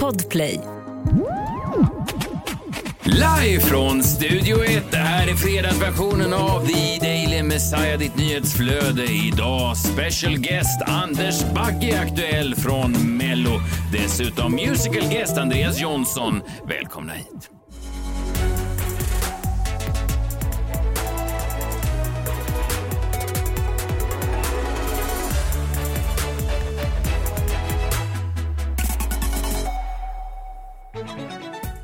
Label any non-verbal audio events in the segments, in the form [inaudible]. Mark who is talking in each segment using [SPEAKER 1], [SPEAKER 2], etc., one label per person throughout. [SPEAKER 1] Podplay.
[SPEAKER 2] Live från Studio 1. Det här är fredagsversionen av The Daily Messiah, ditt nyhetsflöde. Idag special guest Anders Bagge, aktuell från Mello. Dessutom musical guest Andreas Jonsson. Välkomna hit.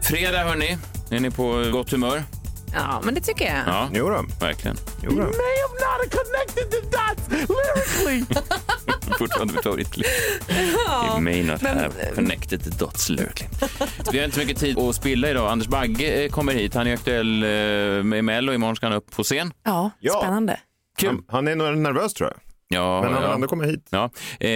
[SPEAKER 2] Fredag, hörni. Är ni på gott humör?
[SPEAKER 3] Ja, men det tycker jag.
[SPEAKER 2] Ja,
[SPEAKER 4] Jo då.
[SPEAKER 2] verkligen.
[SPEAKER 4] Jo
[SPEAKER 3] Mm.
[SPEAKER 4] då.
[SPEAKER 2] [laughs] Fortfarande favoritliv. You may not have connected the dots lyrically. Vi har inte så mycket tid att spilla idag. Anders Bagge eh, kommer hit. Han är aktuell eh, med Mello. Imorgon ska han upp på scen.
[SPEAKER 3] Ja,
[SPEAKER 4] Ja.
[SPEAKER 3] spännande.
[SPEAKER 4] Han, han är nog nervös tror jag.
[SPEAKER 2] Ja,
[SPEAKER 4] Men han
[SPEAKER 2] ja.
[SPEAKER 4] vill ändå komma hit.
[SPEAKER 2] Ja, eh,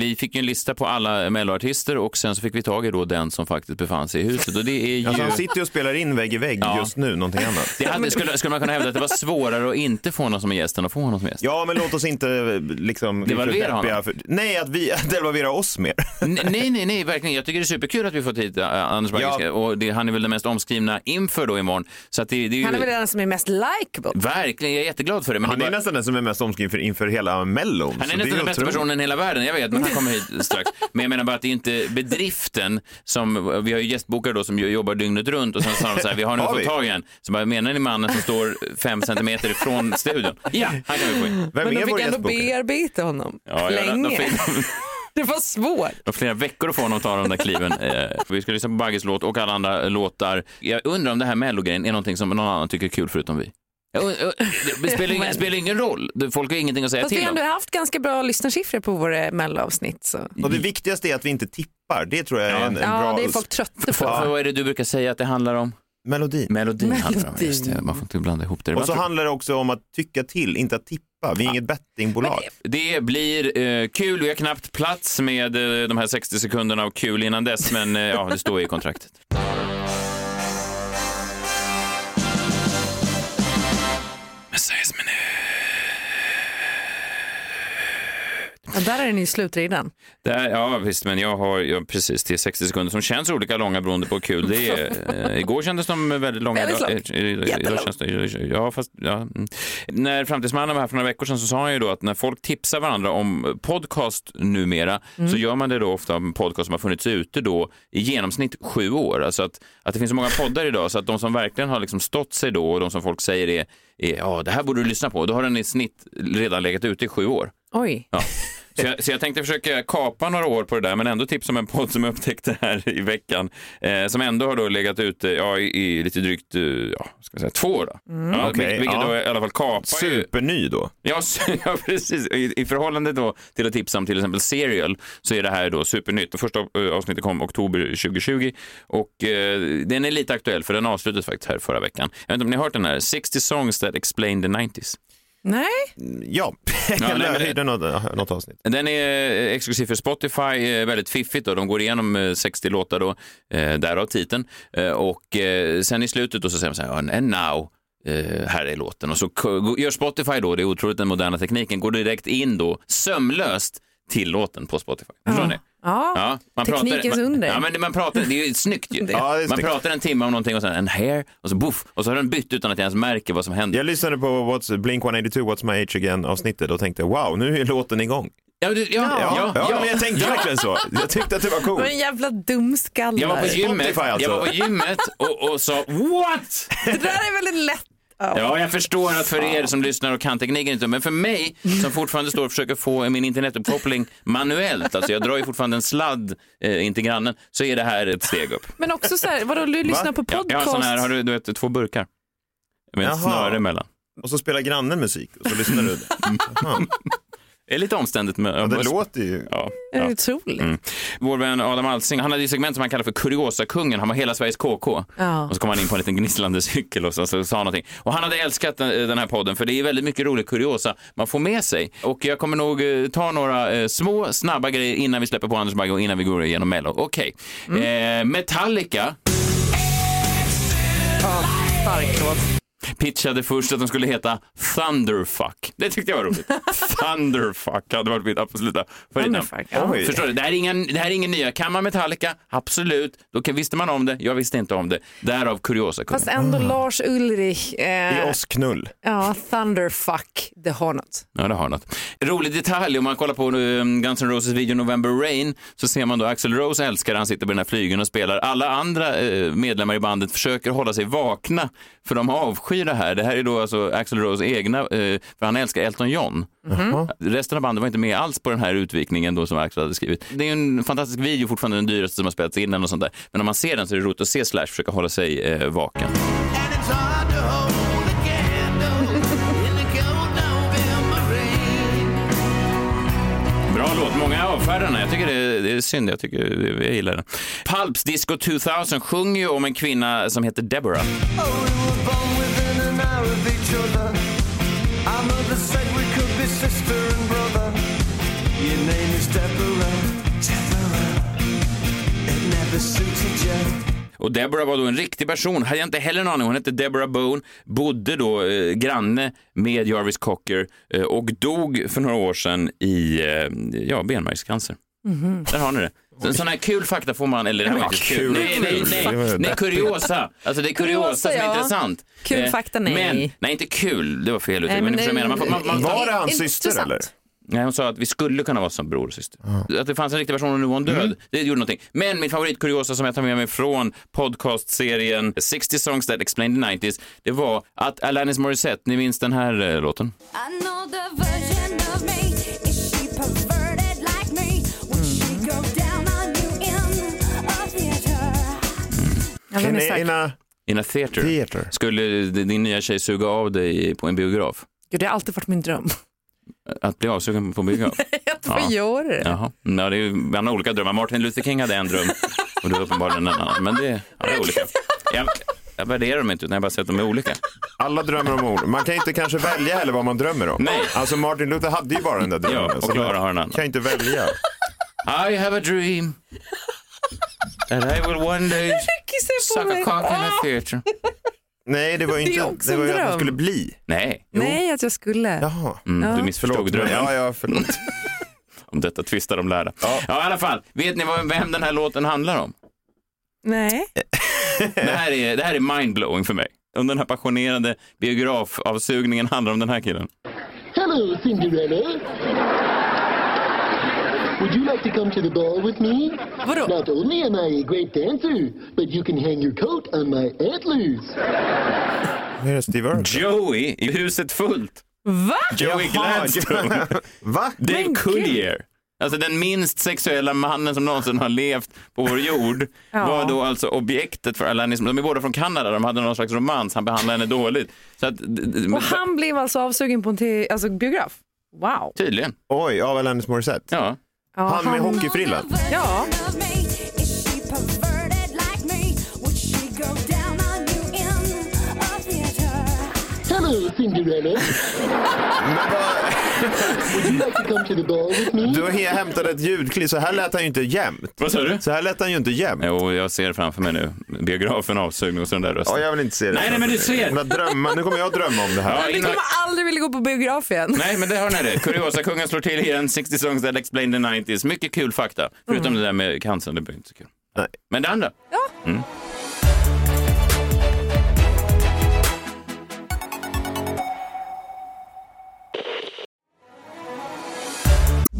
[SPEAKER 2] vi fick ju en lista på alla melloartister och sen så fick vi tag i då den som faktiskt befann sig i huset och det är ju...
[SPEAKER 4] Alltså, han sitter ju och spelar in vägg i vägg
[SPEAKER 2] Ja.
[SPEAKER 4] just nu, någonting annat.
[SPEAKER 2] det hade, skulle, skulle man kunna hävda att det var svårare att inte få någon som är gäst än att få någon som är gäst?
[SPEAKER 4] Ja, men låt oss inte eh, liksom...
[SPEAKER 2] Devalvera
[SPEAKER 4] deppiga
[SPEAKER 2] honom.
[SPEAKER 4] För, nej, att vi [laughs] att devalvera oss mer.
[SPEAKER 2] N- Nej, nej, nej, verkligen. Jag tycker det är superkul att vi fått hit eh, Anders Bagge
[SPEAKER 4] Ja.
[SPEAKER 2] och det, han är väl den mest omskrivna inför då imorgon. Så att det, det är ju...
[SPEAKER 3] Han är väl den som är mest likeable.
[SPEAKER 2] Verkligen, jag är jätteglad för det. Men
[SPEAKER 4] Han
[SPEAKER 2] det
[SPEAKER 4] är
[SPEAKER 2] bara-
[SPEAKER 4] nästan den som är mest omskriven för, inför hela Mellon.
[SPEAKER 2] Han
[SPEAKER 4] så
[SPEAKER 2] är
[SPEAKER 4] det
[SPEAKER 2] nästan den bästa
[SPEAKER 4] otroligt.
[SPEAKER 2] personen i hela världen, jag vet, men han kommer hit
[SPEAKER 4] [laughs]
[SPEAKER 2] strax. Men jag menar bara att det är inte bedriften som, vi har ju gästbokare då som ju jobbar dygnet runt och sen sa de så här, vi har nu
[SPEAKER 4] Har
[SPEAKER 2] fått
[SPEAKER 4] vi?
[SPEAKER 2] tag i en. Så bara, menar ni mannen som står fem centimeter ifrån studion? Ja, han kan vi få in.
[SPEAKER 4] Vem
[SPEAKER 3] Men de fick
[SPEAKER 4] är vår
[SPEAKER 3] ändå
[SPEAKER 4] gästbokare?
[SPEAKER 3] bearbeta honom
[SPEAKER 2] Ja, ja, de- de
[SPEAKER 3] länge.
[SPEAKER 2] fick-
[SPEAKER 3] [laughs] Det var svårt.
[SPEAKER 2] Det var flera veckor att få honom att ta de där
[SPEAKER 3] [laughs]
[SPEAKER 2] kliven. Eh, Vi ska lyssna på Bagges låt och alla andra låtar. Jag undrar om det här mellogrejen är någonting som någon annan tycker är kul förutom vi. Jag und- jag- Det spelar ingen, spelar ingen roll, folk har ingenting att säga
[SPEAKER 3] Fast vi
[SPEAKER 2] till
[SPEAKER 3] har
[SPEAKER 2] om.
[SPEAKER 3] ändå haft ganska bra lyssnarsiffror på våra mellanavsnitt. Så.
[SPEAKER 4] Och det viktigaste är att vi inte tippar. Det tror jag är en, en
[SPEAKER 3] Ja,
[SPEAKER 4] bra
[SPEAKER 3] det är folk trötta
[SPEAKER 2] För, för
[SPEAKER 3] på.
[SPEAKER 2] vad är det du brukar säga att det handlar om?
[SPEAKER 4] melodi.
[SPEAKER 2] Melodin, handlar det om,
[SPEAKER 3] Melodin.
[SPEAKER 2] just det. Man får inte blanda ihop Mm. det. Alltså,
[SPEAKER 4] Och så handlar det också om att tycka till, inte att tippa. Vi är inget bettingbolag.
[SPEAKER 2] Det blir eh, kul. Vi har knappt plats med eh, de här 60 sekunderna av kul innan dess, men eh, ja, det står ju i kontraktet. Messiahs minut.
[SPEAKER 3] Ja, där är den ju slut redan.
[SPEAKER 2] Där, ja, visst, men jag har jag, precis till 60 sekunder som känns olika långa beroende på hur kul det är. Eh, igår kändes de väldigt långa.
[SPEAKER 3] Väldigt långt.
[SPEAKER 2] Idag- eh, idag- idag
[SPEAKER 3] Jättelångt.
[SPEAKER 2] känns det- Ja, fast, ja. mm. När Framtidsmannen var här för några veckor sedan så sa han ju då att när folk tipsar varandra om podcast numera så gör man det då ofta om podcast som har funnits ute då i genomsnitt sju år. Alltså att, att det finns så många poddar idag så att de som verkligen har liksom stått sig då och de som folk säger är, är ja, det här borde du lyssna på, då har den i snitt redan legat ute i sju år.
[SPEAKER 3] Oj.
[SPEAKER 2] Ja. Så, jag, så jag tänkte försöka kapa några år på det där, men ändå tips om en podd som jag upptäckte här i veckan, eh, som ändå har då legat ute ja, i, i lite drygt eh, ja, ska jag säga, två år. Då. Ja,
[SPEAKER 4] Mm. Okej,
[SPEAKER 2] vil- vilket
[SPEAKER 4] ja.
[SPEAKER 2] då i alla fall kapar ju...
[SPEAKER 4] Superny då.
[SPEAKER 2] Ja, su- [laughs] ja, precis. I, I förhållande då till att tipsa om till exempel Serial så är det här då supernytt. Det första eh, avsnittet kom oktober 2020 och eh, den är lite aktuell för den avslutades faktiskt här förra veckan. Jag vet inte om ni har hört den här, 60 songs that explain the 90s.
[SPEAKER 3] Nej,
[SPEAKER 4] Ja,
[SPEAKER 2] nej,
[SPEAKER 4] jag
[SPEAKER 2] men-
[SPEAKER 4] hyrde något, något avsnitt.
[SPEAKER 2] Den är eh, exklusiv för Spotify, eh, väldigt fiffigt och de går igenom eh, 60 låtar då, eh, därav titeln. Eh, Och eh, sen i slutet då så säger de så här, and now, eh, här är låten. Och så k- gör Spotify då, det är otroligt den moderna tekniken, går direkt in då sömlöst till låten på Spotify. Förstår ni?
[SPEAKER 3] ja. teknikens
[SPEAKER 2] pratar, man,
[SPEAKER 3] under.
[SPEAKER 2] Ja, men det- man pratar, det är ju snyggt ju.
[SPEAKER 4] [laughs] Ja, det är
[SPEAKER 2] man
[SPEAKER 4] snyggt.
[SPEAKER 2] pratar en timme om någonting och sen en hair och så boff och så har den bytt utan att jag ens märker vad som händer.
[SPEAKER 4] Jag lyssnade på What's, Blink 182, What's My Age Again avsnittet och tänkte wow, nu är låten igång.
[SPEAKER 2] Ja, men det- ja,
[SPEAKER 4] Ja, ja, men jag tänkte
[SPEAKER 2] ja.
[SPEAKER 4] verkligen så. Jag tyckte att det var
[SPEAKER 3] men
[SPEAKER 4] coolt.
[SPEAKER 3] en jävla dumskalle.
[SPEAKER 2] Jag var på gymmet,
[SPEAKER 4] Spotify alltså.
[SPEAKER 2] jag var på gymmet och, och sa what?
[SPEAKER 3] Det där är väldigt lätt.
[SPEAKER 2] Ja, jag förstår att för er som lyssnar och kan tekniken inte, men för mig som fortfarande står och försöker få min internetuppkoppling manuellt, alltså jag drar ju fortfarande en sladd eh, in till grannen, så är det här ett steg upp.
[SPEAKER 3] Men också så här, vadå, du lyssnar på
[SPEAKER 2] Ja, jag har
[SPEAKER 3] podcast?
[SPEAKER 2] sån här, har du, du vet, två burkar med ett
[SPEAKER 4] Jaha.
[SPEAKER 2] snöre emellan.
[SPEAKER 4] Och så spelar grannen musik och så lyssnar du. Jaha.
[SPEAKER 2] Det är lite omständigt. Men,
[SPEAKER 4] Ja, det låter ju.
[SPEAKER 2] Ja,
[SPEAKER 3] Är det
[SPEAKER 2] ja. Mm.
[SPEAKER 3] otroligt?
[SPEAKER 2] Vår vän Adam Alsing, han hade ju segment som han kallade för Kuriosakungen, han var hela Sveriges KK.
[SPEAKER 3] Ja.
[SPEAKER 2] Och så kom han in på en liten gnisslande cykel och så, så sa han någonting. Och han hade älskat den, den här podden för det är väldigt mycket rolig kuriosa man får med sig. Och jag kommer nog eh, ta några eh, små snabba grejer innan vi släpper på Anders Bagge och innan vi går igenom Mello. Okej,
[SPEAKER 3] Mm.
[SPEAKER 2] eh, Metallica. pitchade först att de skulle heta Thunderfuck. Det tyckte jag var
[SPEAKER 3] [laughs]
[SPEAKER 2] roligt. Thunderfuck hade varit mitt absoluta favoritnamn.
[SPEAKER 3] Thunderfuck, ja.
[SPEAKER 4] Oj.
[SPEAKER 2] Förstår du? Det här, är ingen, det här är ingen nya. Kan man Metallica? Absolut. Då kan, visste man om det. Jag visste inte om det. Därav
[SPEAKER 3] Fast
[SPEAKER 2] kuriosakungen.
[SPEAKER 3] ändå Lars Ulrich,
[SPEAKER 4] I
[SPEAKER 3] eh,
[SPEAKER 4] oss knull.
[SPEAKER 3] ja, Thunderfuck, det har något.
[SPEAKER 2] Ja, det har något. Rolig detalj, om man kollar på eh, Guns N' Roses video November Rain så ser man då Axl Rose älskar, han sitter på den här flygeln och spelar. Alla andra eh, medlemmar i bandet försöker hålla sig vakna för de avskyr det här. Det här är då alltså Axl Rose egna, eh, för han älskar Elton John. Resten av bandet var inte med alls på den här utvikningen då som Axl hade skrivit. Det är ju en fantastisk video, fortfarande den dyraste som har spelats in eller något sånt där. Men om man ser den så är det roligt att se Slash försöka hålla sig eh, vaken.
[SPEAKER 1] And it's hard to hold a [laughs] candle in the cold November rain.
[SPEAKER 2] Bra låt. Många avfärdar den. här. Jag tycker det är, det är synd. Jag, tycker, jag gillar den. Pulps Disco 2000 sjunger ju om en kvinna som heter Deborah.
[SPEAKER 1] Oh, we were born within an hour of each other. Our mother said we could be sister and brother. Your name is Deborah. Deborah. It never suited you.
[SPEAKER 2] Och Deborah var då en riktig person. Hade jag inte heller en aning. Hon hette Deborah Bone. Bodde då eh, granne med Jarvis Cocker eh, och dog för några år sedan i eh, ja, benmärgscancer. Där har ni det. Så, sån här kul fakta får man, eller det här var
[SPEAKER 4] Ja,
[SPEAKER 2] inte kul.
[SPEAKER 4] kul.
[SPEAKER 2] Nej, nej,
[SPEAKER 4] Det var
[SPEAKER 2] nej,
[SPEAKER 4] ju
[SPEAKER 2] nej, kuriosa. Alltså det är kuriosa,
[SPEAKER 3] Kuriosa,
[SPEAKER 2] som är
[SPEAKER 3] ja.
[SPEAKER 2] intressant.
[SPEAKER 3] Kul
[SPEAKER 2] Eh,
[SPEAKER 3] fakta, nej.
[SPEAKER 2] Men, nej, inte kul, det var fel uttryck.
[SPEAKER 3] Nej,
[SPEAKER 2] Men,
[SPEAKER 3] men
[SPEAKER 2] ni förstår vad jag menar. man, får- man, man,
[SPEAKER 4] Var det hans
[SPEAKER 3] Intressant.
[SPEAKER 4] syster eller?
[SPEAKER 2] Nej, hon sa att vi skulle kunna vara som bror och syster. Att det fanns en riktig version och nu var hon död. Det gjorde någonting. Men min favoritkuriosa som jag tar med mig från podcastserien 60 songs that explained the 90s, det var att Alanis Morissette, ni minns den här eh, låten?
[SPEAKER 5] I know the version of me. Is she perverted like me? Would she go down on you in a theater?
[SPEAKER 3] Ja, den är
[SPEAKER 4] In,
[SPEAKER 3] stark.
[SPEAKER 4] in a
[SPEAKER 2] In a theater.
[SPEAKER 4] theater.
[SPEAKER 2] Skulle din nya tjej suga av dig på en biograf?
[SPEAKER 3] Gud, det har alltid varit min dröm.
[SPEAKER 2] Att bli avsugen på en biograf?
[SPEAKER 3] Att få
[SPEAKER 2] [laughs] Ja.
[SPEAKER 3] göra det.
[SPEAKER 2] Jaha, Mm, ja, det är, ju- man har olika drömmar. Martin Luther King hade en dröm och du har uppenbarligen en annan. Men det, ja, det är [laughs] olika. Jag, jag värderar dem inte utan jag bara säger att de är olika.
[SPEAKER 4] Alla drömmer om ord. Man kan inte kanske välja heller vad man drömmer om.
[SPEAKER 2] Nej.
[SPEAKER 4] Alltså Martin Luther hade ju bara den där drömmen.
[SPEAKER 2] Ja, och
[SPEAKER 4] så
[SPEAKER 2] Klara
[SPEAKER 4] man
[SPEAKER 2] har en annan.
[SPEAKER 4] kan inte välja.
[SPEAKER 2] I have a
[SPEAKER 3] [laughs]
[SPEAKER 2] dream that I will one day
[SPEAKER 3] Kissa på
[SPEAKER 2] suck a
[SPEAKER 3] mig.
[SPEAKER 2] cock in a
[SPEAKER 3] Ah!
[SPEAKER 2] theater.
[SPEAKER 4] Nej, det var ju
[SPEAKER 3] Det är
[SPEAKER 4] inte,
[SPEAKER 3] också
[SPEAKER 4] det var
[SPEAKER 3] en
[SPEAKER 4] ju att man
[SPEAKER 3] dröm.
[SPEAKER 4] skulle bli.
[SPEAKER 2] Nej,
[SPEAKER 3] Nej, att jag skulle.
[SPEAKER 4] Jaha.
[SPEAKER 2] mm, du
[SPEAKER 3] Ja.
[SPEAKER 2] missförstod drömmen.
[SPEAKER 4] Ja, ja, förlåt.
[SPEAKER 2] Om detta tvistar de lärda. Ja. i alla fall. Vet ni vad, vem den här låten handlar om?
[SPEAKER 3] Nej.
[SPEAKER 2] Det här är, det här är mindblowing för mig. Om den här passionerade biografavsugningen handlar om den här killen.
[SPEAKER 6] Hello, Cinderella. Would you like to come to the ball with me?
[SPEAKER 3] Vadå?
[SPEAKER 6] Not only am I a great dancer, but you can hang your coat on my antlers.
[SPEAKER 4] Det är Steve Earle.
[SPEAKER 2] Joey i Huset fullt.
[SPEAKER 3] Va?
[SPEAKER 2] Joey
[SPEAKER 4] Jaha,
[SPEAKER 2] Gladstone.
[SPEAKER 4] Va?
[SPEAKER 2] Dave
[SPEAKER 3] Men
[SPEAKER 2] Coulier. Alltså den minst sexuella mannen som någonsin har levt på vår jord
[SPEAKER 3] Ja.
[SPEAKER 2] var då alltså objektet för Alanis. De är båda från Kanada, de hade någon slags romans, han behandlade henne dåligt. Så att, d- d- men-
[SPEAKER 3] Och han blev alltså avsugen på en te- alltså, biograf? Wow.
[SPEAKER 2] Tydligen,
[SPEAKER 4] Oj, av Alanis Morissette.
[SPEAKER 2] ja.
[SPEAKER 3] Ja,
[SPEAKER 4] Han med
[SPEAKER 5] I know the
[SPEAKER 4] hockeyfrillan.
[SPEAKER 5] version of me. Is she perverted like me? Would she go down on you in a theater?
[SPEAKER 6] Hello, Cinderella. Would you like to come to the ball with me?
[SPEAKER 4] Du he- hämtade ett ljudklipp, så här lät han ju inte jämt.
[SPEAKER 2] Vad sa du?
[SPEAKER 4] Så här lät han ju inte jämt.
[SPEAKER 2] Jo, jag ser framför mig nu biografen avsugning och sån där rösten.
[SPEAKER 4] Ja, jag vill inte se det.
[SPEAKER 2] Nej, nej, men du ser.
[SPEAKER 4] Men drömma, nu kommer jag att drömma om det här.
[SPEAKER 2] Ja,
[SPEAKER 3] Vi
[SPEAKER 2] in-
[SPEAKER 3] kommer aldrig vilja gå på biograf igen.
[SPEAKER 2] Nej, men det har ni det. Kuriosakungen slår till igen, 60 songs that explain the 90s. Mycket kul fakta, förutom
[SPEAKER 3] Mm.
[SPEAKER 2] det där med cancern, det blir inte så kul.
[SPEAKER 4] Nej.
[SPEAKER 2] Men det andra.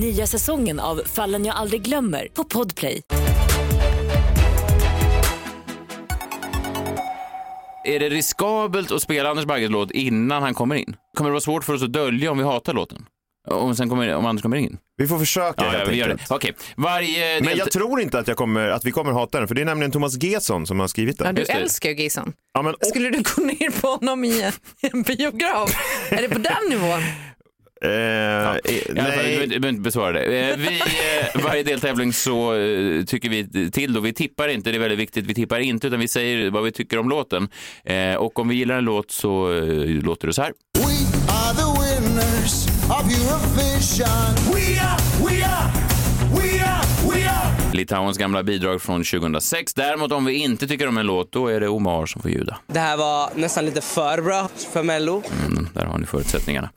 [SPEAKER 7] Nya säsongen av Fallen jag aldrig glömmer på Podplay.
[SPEAKER 2] Är det riskabelt att spela Anders Bagges låt innan han kommer in? Kommer det vara svårt för oss att dölja om vi hatar låten? Om, sen kommer, om Anders kommer in?
[SPEAKER 4] Vi får försöka helt
[SPEAKER 2] vi
[SPEAKER 4] enkelt.
[SPEAKER 2] gör det. Okej, varje...
[SPEAKER 4] Men
[SPEAKER 2] delta-
[SPEAKER 4] jag tror inte att, jag kommer, att vi kommer hata den, för det är nämligen Thomas Gesson som har skrivit
[SPEAKER 3] Ja,
[SPEAKER 4] den.
[SPEAKER 3] du
[SPEAKER 2] Just det.
[SPEAKER 3] älskar ju Gison.
[SPEAKER 4] Ja, men, och,
[SPEAKER 3] Skulle du gå ner på honom i en- i en biograf? Är det på den nivån?
[SPEAKER 4] Eh, eh,
[SPEAKER 2] I alla fall, du
[SPEAKER 4] nej.
[SPEAKER 2] behöver inte besvara det. Eh, Vi, eh, varje deltävling så eh, tycker vi till och vi tippar inte, det är väldigt viktigt, vi tippar inte utan vi säger vad vi tycker om låten. Eh, Och om vi gillar en låt så eh, låter det så här.
[SPEAKER 1] We are the winners of Eurovision. We are, we are, we are, we are.
[SPEAKER 2] Litauens gamla bidrag från 2006. Däremot om vi inte tycker om en låt, då är det Omar som får ljuda.
[SPEAKER 8] Det här var nästan lite för bra för Mello.
[SPEAKER 2] Mm, där har ni förutsättningarna.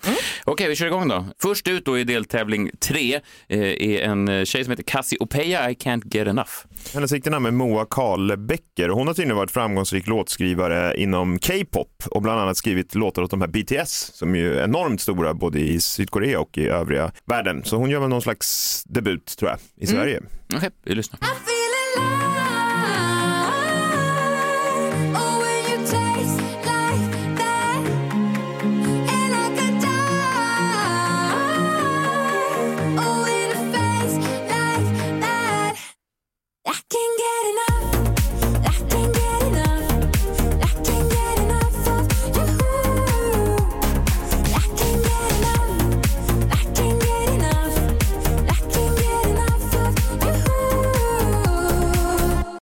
[SPEAKER 2] Okej, vi kör igång då. Först ut då i deltävling 3 är en eh, tjej som heter Cassiopeia, I can't get enough.
[SPEAKER 4] Hennes riktiga namn är Moa Karlbäcker och hon har tydligen varit framgångsrik låtskrivare inom K-pop och bland annat skrivit låtar åt de här BTS som ju är enormt stora både i Sydkorea och i övriga världen. Så hon gör väl någon slags debut tror jag i Sverige.
[SPEAKER 2] Okej, vi lyssnar.
[SPEAKER 5] I feel alive. Oh, when you taste like that, and I could die. Oh, in a face like that, I can get enough. I can get enough. I can get enough of you. I can get enough. I can get enough. I can get enough of you.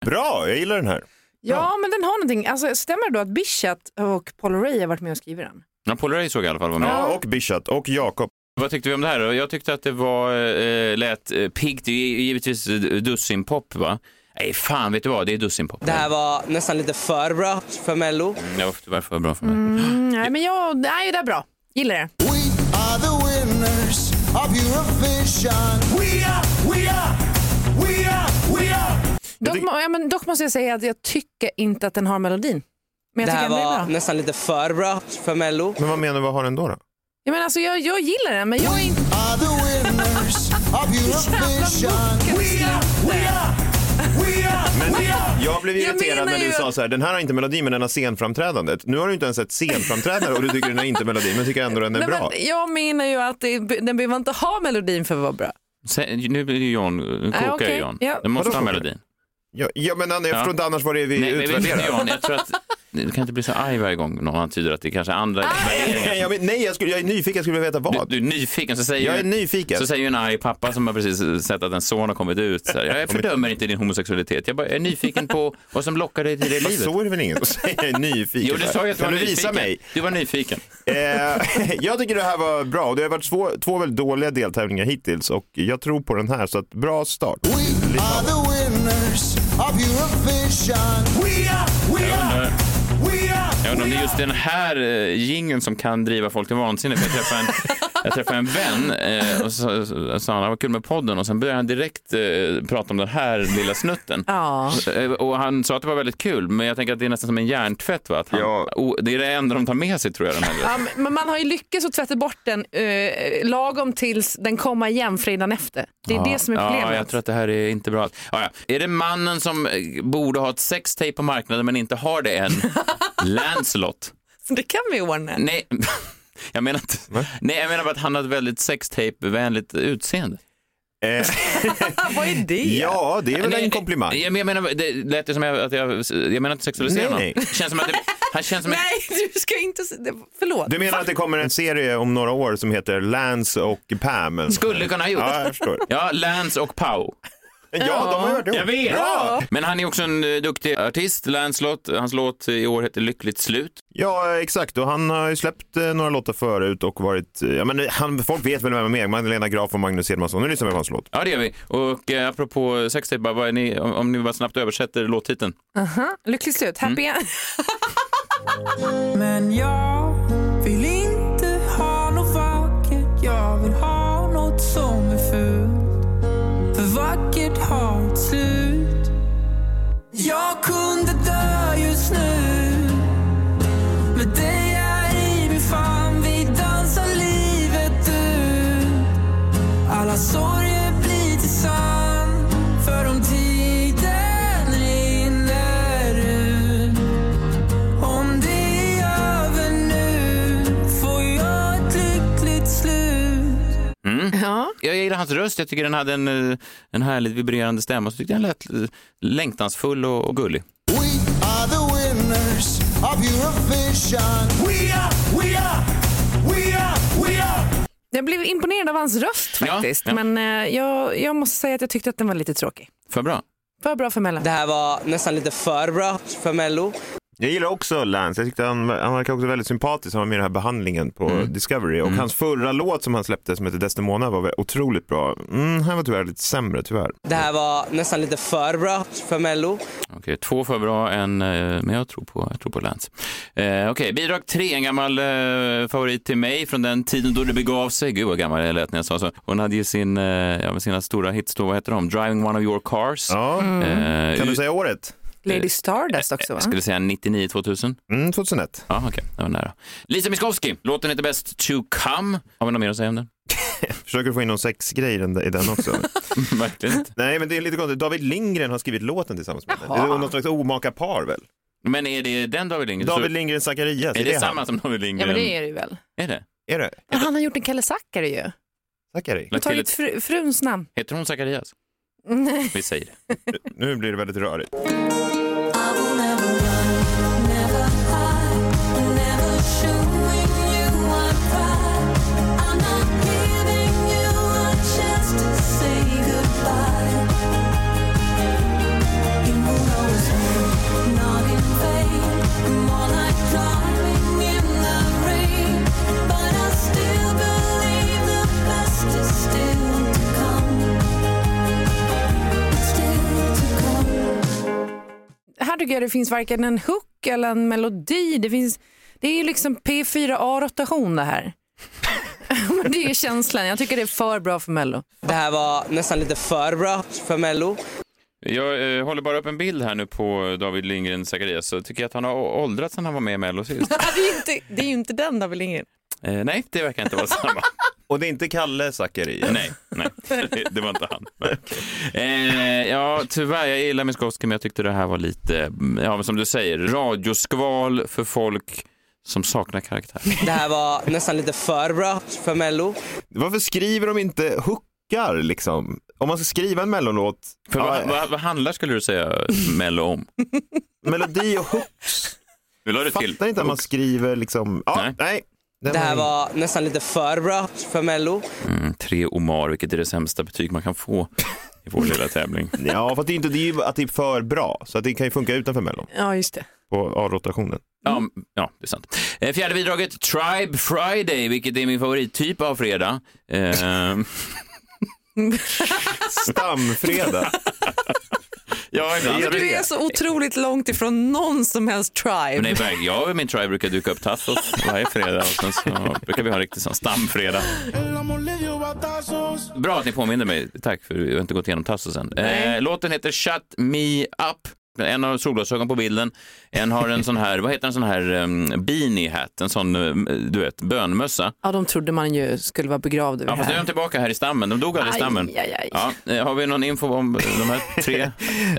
[SPEAKER 4] Bra, jag gillar den här.
[SPEAKER 3] Ja, men den har någonting. Alltså, stämmer det då att Bichat och Paul Ray har varit med och skrivit den?
[SPEAKER 2] Ja, Paul Ray såg jag i alla fall var med.
[SPEAKER 4] Ja, och Bishat och Jakob.
[SPEAKER 2] Vad tyckte vi om det här då? Jag tyckte att det var, eh, lät eh, piggt, det är ju givetvis eh, dussinpop va? Nej fan, vet du vad, det är dussinpop. Mm,
[SPEAKER 8] Det här var nästan lite för bra för Mello.
[SPEAKER 2] Det var tyvärr för bra för mig.
[SPEAKER 3] Mm, nej, men jag, nej, det är bra. Gillar det.
[SPEAKER 1] We are the winners of Eurovision. We are, we are, we are, we are.
[SPEAKER 3] Dock, må- ja, men dock måste jag säga att jag tycker inte att den har melodin. Men
[SPEAKER 8] Det
[SPEAKER 3] jag
[SPEAKER 8] här
[SPEAKER 3] tycker ändå det är
[SPEAKER 8] var
[SPEAKER 3] bra.
[SPEAKER 8] nästan lite för bra för Mello.
[SPEAKER 4] Men vad menar du, vad har den då? då?
[SPEAKER 3] Jag, menar, alltså, jag, jag gillar den, men jag är inte...
[SPEAKER 1] Are the winners of Eurovision. We are, we are, we are, we are.
[SPEAKER 4] Jag blev
[SPEAKER 3] Jag
[SPEAKER 4] irriterad
[SPEAKER 3] menar
[SPEAKER 4] när du
[SPEAKER 3] ju-
[SPEAKER 4] sa så här, den här har inte melodi men den har scenframträdandet. Nu har du inte ens ett scenframträdande och du tycker den har inte melodi men tycker ändå den är
[SPEAKER 3] Nej,
[SPEAKER 4] bra.
[SPEAKER 3] men jag menar ju att det, den behöver inte ha melodin för att vara bra.
[SPEAKER 2] Sen, nu blir det John, nu kokar
[SPEAKER 3] Nej,
[SPEAKER 2] ju
[SPEAKER 3] okej.
[SPEAKER 2] John.
[SPEAKER 3] Ja.
[SPEAKER 2] Du måste
[SPEAKER 4] Vadå
[SPEAKER 2] ha
[SPEAKER 4] kokar?
[SPEAKER 2] melodin.
[SPEAKER 4] Ja, ja men jag förstår inte annars vad det är vi
[SPEAKER 2] Nej, men vet
[SPEAKER 4] utvärderar.
[SPEAKER 2] du John, jag tror att [laughs] du kan inte bli så arg varje gång någon antyder att det kanske är andra värderingar.
[SPEAKER 4] Nej, [laughs] jag, men- nej jag, skulle, jag är nyfiken, jag skulle vilja veta
[SPEAKER 2] Du,
[SPEAKER 4] vad.
[SPEAKER 2] du är nyfiken, så säger
[SPEAKER 4] jag är
[SPEAKER 2] ju-
[SPEAKER 4] nyfiken.
[SPEAKER 2] Så säger ju en arg pappa som har precis sett att en son har kommit ut. Så här, jag fördömer inte din homosexualitet, jag bara är nyfiken på vad som lockar dig
[SPEAKER 4] [laughs]
[SPEAKER 2] till det
[SPEAKER 4] Fast
[SPEAKER 2] livet.
[SPEAKER 4] så är det väl ingen
[SPEAKER 2] [laughs]
[SPEAKER 4] som säger nyfiken?
[SPEAKER 2] Jo, du sa ju att du var
[SPEAKER 4] kan du
[SPEAKER 2] nyfiken.
[SPEAKER 4] visa mig?
[SPEAKER 2] Du var nyfiken.
[SPEAKER 4] Eh, [laughs] jag tycker det här var bra. Det har varit två, två väldigt dåliga deltävlingar hittills och jag tror på den här så att bra start.
[SPEAKER 1] We are the winners of Eurovision. We are, we are, we are.
[SPEAKER 2] Jag undrar om det är just den här eh, jingeln som kan driva folk till vansinne. För jag träffade en,
[SPEAKER 4] [laughs]
[SPEAKER 2] jag träffade en vän eh, och så så sa han, vad kul med podden. Och sen började han direkt eh, prata om den här lilla snutten.
[SPEAKER 3] Ja.
[SPEAKER 2] Eh, Och han sa att det var väldigt kul, men jag tänker att det är nästan som en hjärntvätt. Va? Att han,
[SPEAKER 4] Ja.
[SPEAKER 2] oh, det är det enda de tar med sig tror jag. Den
[SPEAKER 4] [laughs]
[SPEAKER 2] här.
[SPEAKER 3] Ja, men- men man har ju lyckats att tvätta bort den eh, lagom tills den kommer igen fredagen efter. Det är det som är
[SPEAKER 2] Ja, jag
[SPEAKER 3] problemet.
[SPEAKER 2] tror att det här är inte bra. Ja, ja. Är det mannen som eh, borde ha ett sextape på marknaden men inte har det
[SPEAKER 3] [laughs]
[SPEAKER 2] än? Lancelot.
[SPEAKER 3] Så det kan vi ordna.
[SPEAKER 2] Nej, [laughs] jag menar inte. Nej, jag menar bara att han har ett väldigt sextape-vänligt utseende.
[SPEAKER 4] Eh, [laughs]
[SPEAKER 3] Ah, Vad är det?
[SPEAKER 4] ja, det är väl
[SPEAKER 2] Nej,
[SPEAKER 4] en komplimang.
[SPEAKER 2] Jag, men- jag menar, det lät ju som jag- att jag, jag menar inte sexualisera
[SPEAKER 4] Nej,
[SPEAKER 2] honom.
[SPEAKER 4] nej.
[SPEAKER 2] Det Känns som att det, han känns som en...
[SPEAKER 3] Nej, du ska inte... se- det- Förlåt.
[SPEAKER 4] Du menar att det kommer en serie om några år som heter Lance och Pam? eller något
[SPEAKER 2] Skulle
[SPEAKER 4] sånt?
[SPEAKER 2] kunna ha gjort.
[SPEAKER 4] Ja, jag förstår.
[SPEAKER 2] Ja, Lance och Pau.
[SPEAKER 4] Ja, de har hört det. Bra!
[SPEAKER 2] Men han är också en eh, duktig artist, Lancelot. Hans låt i år heter Lyckligt slut.
[SPEAKER 4] Ja, exakt. Och han har ju släppt eh, några låtar förut och varit... eh, Ja, men han, folk vet väl vem han är. Magdalena Graaf och Magnus Hedmansson. Nu lyssnar vi på hans låt.
[SPEAKER 2] Ja, det gör vi. Och eh, apropå sextape, bara, vad är ni, om, om ni bara snabbt översätter låttiteln.
[SPEAKER 3] Lyckligt slut. Happy
[SPEAKER 4] Mm.
[SPEAKER 3] end.
[SPEAKER 8] [laughs] Men jag vill inte ha något vackert. Jag vill ha något som är fult. För vackert har ett slut. Jag kunde dö just nu. Med dig här i min famn, vi dansar livet ut. Alla sorger blir till sann, för om tiden rinner ut. Om det är över nu, får jag ett lyckligt slut.
[SPEAKER 3] Ja.
[SPEAKER 2] Jag gillar hans röst. Jag tycker den hade en, eh, en härligt vibrerande stämma. Så tyckte jag den lät eh, längtansfull och, och gullig.
[SPEAKER 1] We are the winners of Eurovision. We are, we are, we are, we are.
[SPEAKER 3] Jag blev imponerad av hans röst
[SPEAKER 2] Ja,
[SPEAKER 3] faktiskt.
[SPEAKER 2] ja.
[SPEAKER 3] Men eh, jag, jag måste säga att jag tyckte att den var lite tråkig.
[SPEAKER 2] För bra.
[SPEAKER 3] För bra för Mellan.
[SPEAKER 9] Det här var nästan lite för bra för Mello.
[SPEAKER 4] Jag gillar också Lance. Jag tyckte han, han verkar också väldigt sympatisk. Han var med i den här behandlingen på Discovery. Och hans förra låt som han släppte som heter Desdemona var väl otroligt bra. Mm, han var tyvärr lite sämre, tyvärr.
[SPEAKER 9] Det här var nästan lite för bra för Mello.
[SPEAKER 2] Okej, två för bra, en, eh, men jag tror på, jag tror på Lance. Eh, Okej, bidrag tre, en gammal eh, favorit till mig från den tiden då det begav sig. Gud vad gammal jag lät när jag sa så. Hon hade ju sin, eh, ja, med sina stora hits då, vad heter de? Driving one of your cars.
[SPEAKER 4] Ja. Mm.
[SPEAKER 2] Eh,
[SPEAKER 4] Kan du
[SPEAKER 2] ut-
[SPEAKER 4] säga året?
[SPEAKER 3] Lady Stardust också va?
[SPEAKER 2] Jag skulle säga 99 2000.
[SPEAKER 4] Mm, 2001.
[SPEAKER 2] Ja, okej, det var nära. Lisa Miskovsky, låten heter Best to come. Har vi något mer att säga om den? [laughs]
[SPEAKER 4] Försöker få in någon sexgrej i den- i den [laughs] också.
[SPEAKER 2] Verkligen inte.
[SPEAKER 4] Nej, men det är lite konstigt. David Lindgren har skrivit låten tillsammans med henne. Det är något slags omaka par väl?
[SPEAKER 2] Men är det den David Lindgren?
[SPEAKER 4] David
[SPEAKER 2] Så-
[SPEAKER 4] Lindgren Zacharias,
[SPEAKER 2] Är det,
[SPEAKER 4] han?
[SPEAKER 2] samma som David
[SPEAKER 3] Ja
[SPEAKER 2] Lindgren?
[SPEAKER 3] men det är det ju väl.
[SPEAKER 2] Är det?
[SPEAKER 4] Är det?
[SPEAKER 3] Men han har gjort en Kalle Zackari ju.
[SPEAKER 4] Zachari?
[SPEAKER 2] Lagt
[SPEAKER 3] Tar
[SPEAKER 2] till
[SPEAKER 3] ut
[SPEAKER 2] ett...
[SPEAKER 3] fru, fruns namn.
[SPEAKER 2] Heter hon Zacharias?
[SPEAKER 3] Nej.
[SPEAKER 2] Vi säger det.
[SPEAKER 4] Nu blir det väldigt rörigt.
[SPEAKER 5] Still to come, still to come.
[SPEAKER 3] Här tycker jag det finns varken en hook eller en melodi. Det, finns, det är ju liksom P4A-rotation det här. [laughs] men det är ju känslan. Jag tycker det är för bra för Mello.
[SPEAKER 9] Det här var nästan lite för bra för Mello.
[SPEAKER 2] Jag eh, håller bara upp en bild här nu på David Lindgren Zacharias så tycker jag att han har å- åldrats sen han var med i Mello
[SPEAKER 3] [laughs]
[SPEAKER 2] sist.
[SPEAKER 3] det, är ju inte, det är ju inte den David Lindgren.
[SPEAKER 2] eh, nej, det verkar inte vara samma.
[SPEAKER 4] Och det är inte Kalle Zachari.
[SPEAKER 2] nej, nej, det- det var inte han. eh, ja, tyvärr, jag gillar Miskovsky men jag tyckte det här var lite, mm, ja men som du säger, radioskval för folk som saknar [laughs] karaktär.
[SPEAKER 9] Det här var nästan lite för bra för Mello.
[SPEAKER 4] Varför skriver de inte hookar liksom? Om man ska skriva en mellolåt,
[SPEAKER 2] För
[SPEAKER 4] ja,
[SPEAKER 2] vad, vad, vad handlar, skulle du säga, Mello om?
[SPEAKER 4] melodi och hooks.
[SPEAKER 2] Du la det [laughs] till.
[SPEAKER 4] Fattar inte att man skriver liksom, ja,
[SPEAKER 2] Nej.
[SPEAKER 4] nej. Den
[SPEAKER 9] Det här
[SPEAKER 4] var-
[SPEAKER 9] var nästan lite för bra för Mello.
[SPEAKER 2] Mm, tre Omar, vilket är det sämsta betyg man kan få i vår lilla tävling.
[SPEAKER 4] Ja, för att det är inte det är ju att det är för bra, så att det kan ju funka utanför mellon
[SPEAKER 3] Ja just det.
[SPEAKER 4] på A-rotationen.
[SPEAKER 2] [laughs] Ja, m- ja, det är sant. Eh, Fjärde bidraget, Tribe Friday, vilket är min favorittyp av fredag. Eh, [laughs]
[SPEAKER 4] Stamfredag.
[SPEAKER 2] ja, ibland.
[SPEAKER 4] Ja, det är
[SPEAKER 3] Du är så otroligt långt ifrån någon som helst tribe.
[SPEAKER 2] Men nej, verkligen, jag och min tribe brukar duka upp tassos varje fredag och sen så brukar vi ha en riktig sån stamfredag. Bra att ni påminner mig. Tack, för vi har inte gått igenom tassos än. Eh, låten heter Shut Me Up. En har solglasögon på bilden, en har en sån här, vad heter en sån här um, beanie hat, en sån, um, du vet, bönmössa.
[SPEAKER 3] Ja de trodde man ju skulle vara begravd över
[SPEAKER 2] Ja, fast nu är de tillbaka här i stammen, de dog aldrig i
[SPEAKER 3] Aj,
[SPEAKER 2] stammen.
[SPEAKER 3] aj, aj.
[SPEAKER 2] Ja, eh, har vi någon info om de här tre?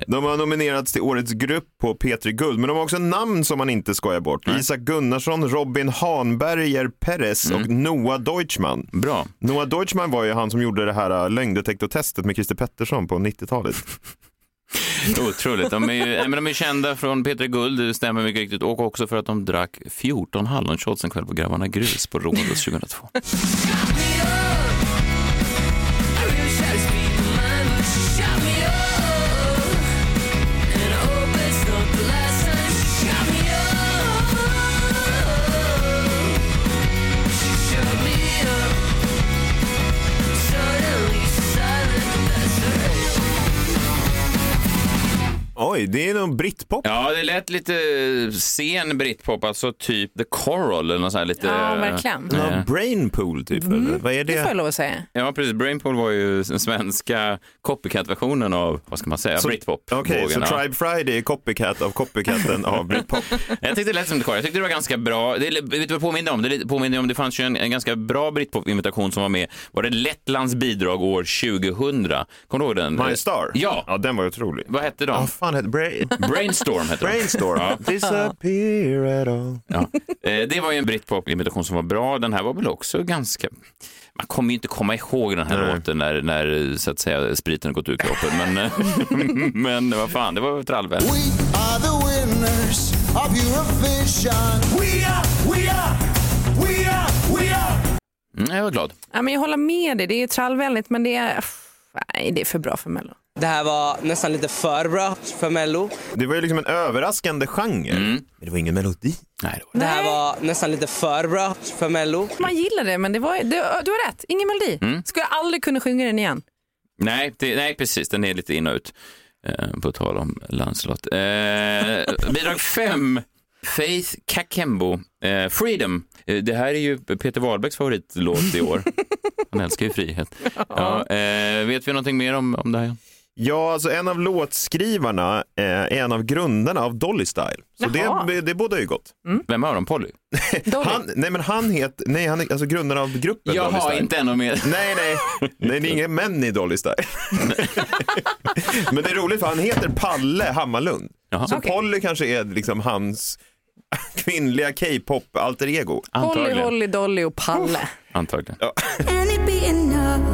[SPEAKER 4] De har nominerats till årets grupp på P3 Guld, men de har också namn som man inte skojar bort. Isak Gunnarsson, Robin Hanberger Perez
[SPEAKER 2] Mm.
[SPEAKER 4] och Noah Deutschman.
[SPEAKER 2] Bra.
[SPEAKER 4] Noah Deutschman var ju han som gjorde det här äh, lögndetektortestet med Christer Pettersson på 90-talet.
[SPEAKER 2] [laughs] Otroligt. De är ju nej, men de är kända från Peter Guld, det stämmer mycket riktigt, och också för att de drack 14 hallonshots en kväll på Grabbarna Grus på Rhodos 2002.
[SPEAKER 4] [laughs] Oj, det är nog brittpop.
[SPEAKER 2] [laughs] Ja, det lät lite sen britpop, alltså typ The Coral eller något sånt här lite...
[SPEAKER 3] Ja, verkligen.
[SPEAKER 2] Ja.
[SPEAKER 4] Någon brainpool typ, eller? Vad är
[SPEAKER 3] Det får jag
[SPEAKER 4] det?
[SPEAKER 3] lov att säga.
[SPEAKER 2] Ja, precis. Brainpool var ju den svenska copycat-versionen av, vad ska man säga, britpop.
[SPEAKER 4] Alltså, Okej,
[SPEAKER 2] vågen,
[SPEAKER 4] så
[SPEAKER 2] ja.
[SPEAKER 4] Tribe Friday är copycat av copycaten av britpop.
[SPEAKER 2] Jag tyckte det lät som The Coral. Jag tyckte det var ganska bra. Det, vet du vad det påminner om? Det lite- påminner om, det fanns ju en, en ganska bra britpop-invitation som var med. Var det Lettlands bidrag år 2000? Kommer du ihåg den?
[SPEAKER 4] My Star?
[SPEAKER 2] Eh, Ja.
[SPEAKER 4] ja den var ju otrolig.
[SPEAKER 2] Vad hette de?
[SPEAKER 4] Ja, fan hette Brain...
[SPEAKER 2] Brainstorm hette de.
[SPEAKER 4] Brainstorm.
[SPEAKER 2] Ja.
[SPEAKER 4] Disappear at all.
[SPEAKER 2] Eh, Det var ju en britpop-imitation som var bra. Den här var väl också ganska... Man kommer ju inte komma ihåg den här
[SPEAKER 4] Nej.
[SPEAKER 2] låten när, när så att säga, spriten har gått ur kroppen. Men, eh, men [laughs] vad fan, det var ett trallväl.
[SPEAKER 1] We are the winners of Eurovision. We are, we are, we are, we are.
[SPEAKER 2] Mm, jag var glad.
[SPEAKER 3] Ja, men jag håller med dig, det är trallvänligt men det är, pff, nej, det är för bra för Mello.
[SPEAKER 9] Det här var nästan lite för bra för Mello.
[SPEAKER 4] Det var ju liksom en överraskande genre. Men det var ingen melodi.
[SPEAKER 2] Nej,
[SPEAKER 9] Det här var nästan lite för bra för Mello.
[SPEAKER 3] Man gillar det men det var, du, du har rätt, ingen melodi.
[SPEAKER 2] Mm.
[SPEAKER 3] Skulle jag aldrig kunna sjunga den igen.
[SPEAKER 2] Nej, det, nej precis. Den är lite in och ut. Eh, på tal om Lancelot. Eh, [laughs] bidrag 5. Faith Kakembo, eh, Freedom. Eh, det här är ju Peter Wahlbecks favoritlåt i år. Han älskar ju frihet. Ja, eh, vet vi någonting mer om, om det här?
[SPEAKER 4] Ja, alltså en av låtskrivarna eh, är en av grundarna av Dolly Style. Så
[SPEAKER 3] Jaha.
[SPEAKER 4] det, det bådar ju gott.
[SPEAKER 2] Vem av dem? Polly?
[SPEAKER 4] Han, nej, men han heter, nej, han är alltså grundaren av gruppen
[SPEAKER 2] Jag
[SPEAKER 4] Dolly
[SPEAKER 2] har
[SPEAKER 4] Style.
[SPEAKER 2] inte ännu mer.
[SPEAKER 4] Nej, nej, nej, det är inga män i Dolly Style. [laughs] men det är roligt för han heter Palle Hammarlund.
[SPEAKER 2] [laughs] Jaha.
[SPEAKER 4] Så
[SPEAKER 3] Okej.
[SPEAKER 4] Polly kanske är liksom hans kvinnliga K-pop alter ego.
[SPEAKER 3] Holly,
[SPEAKER 2] Antagligen.
[SPEAKER 3] Holly, Dolly och Palle.
[SPEAKER 2] Antagligen.
[SPEAKER 5] And it be enough.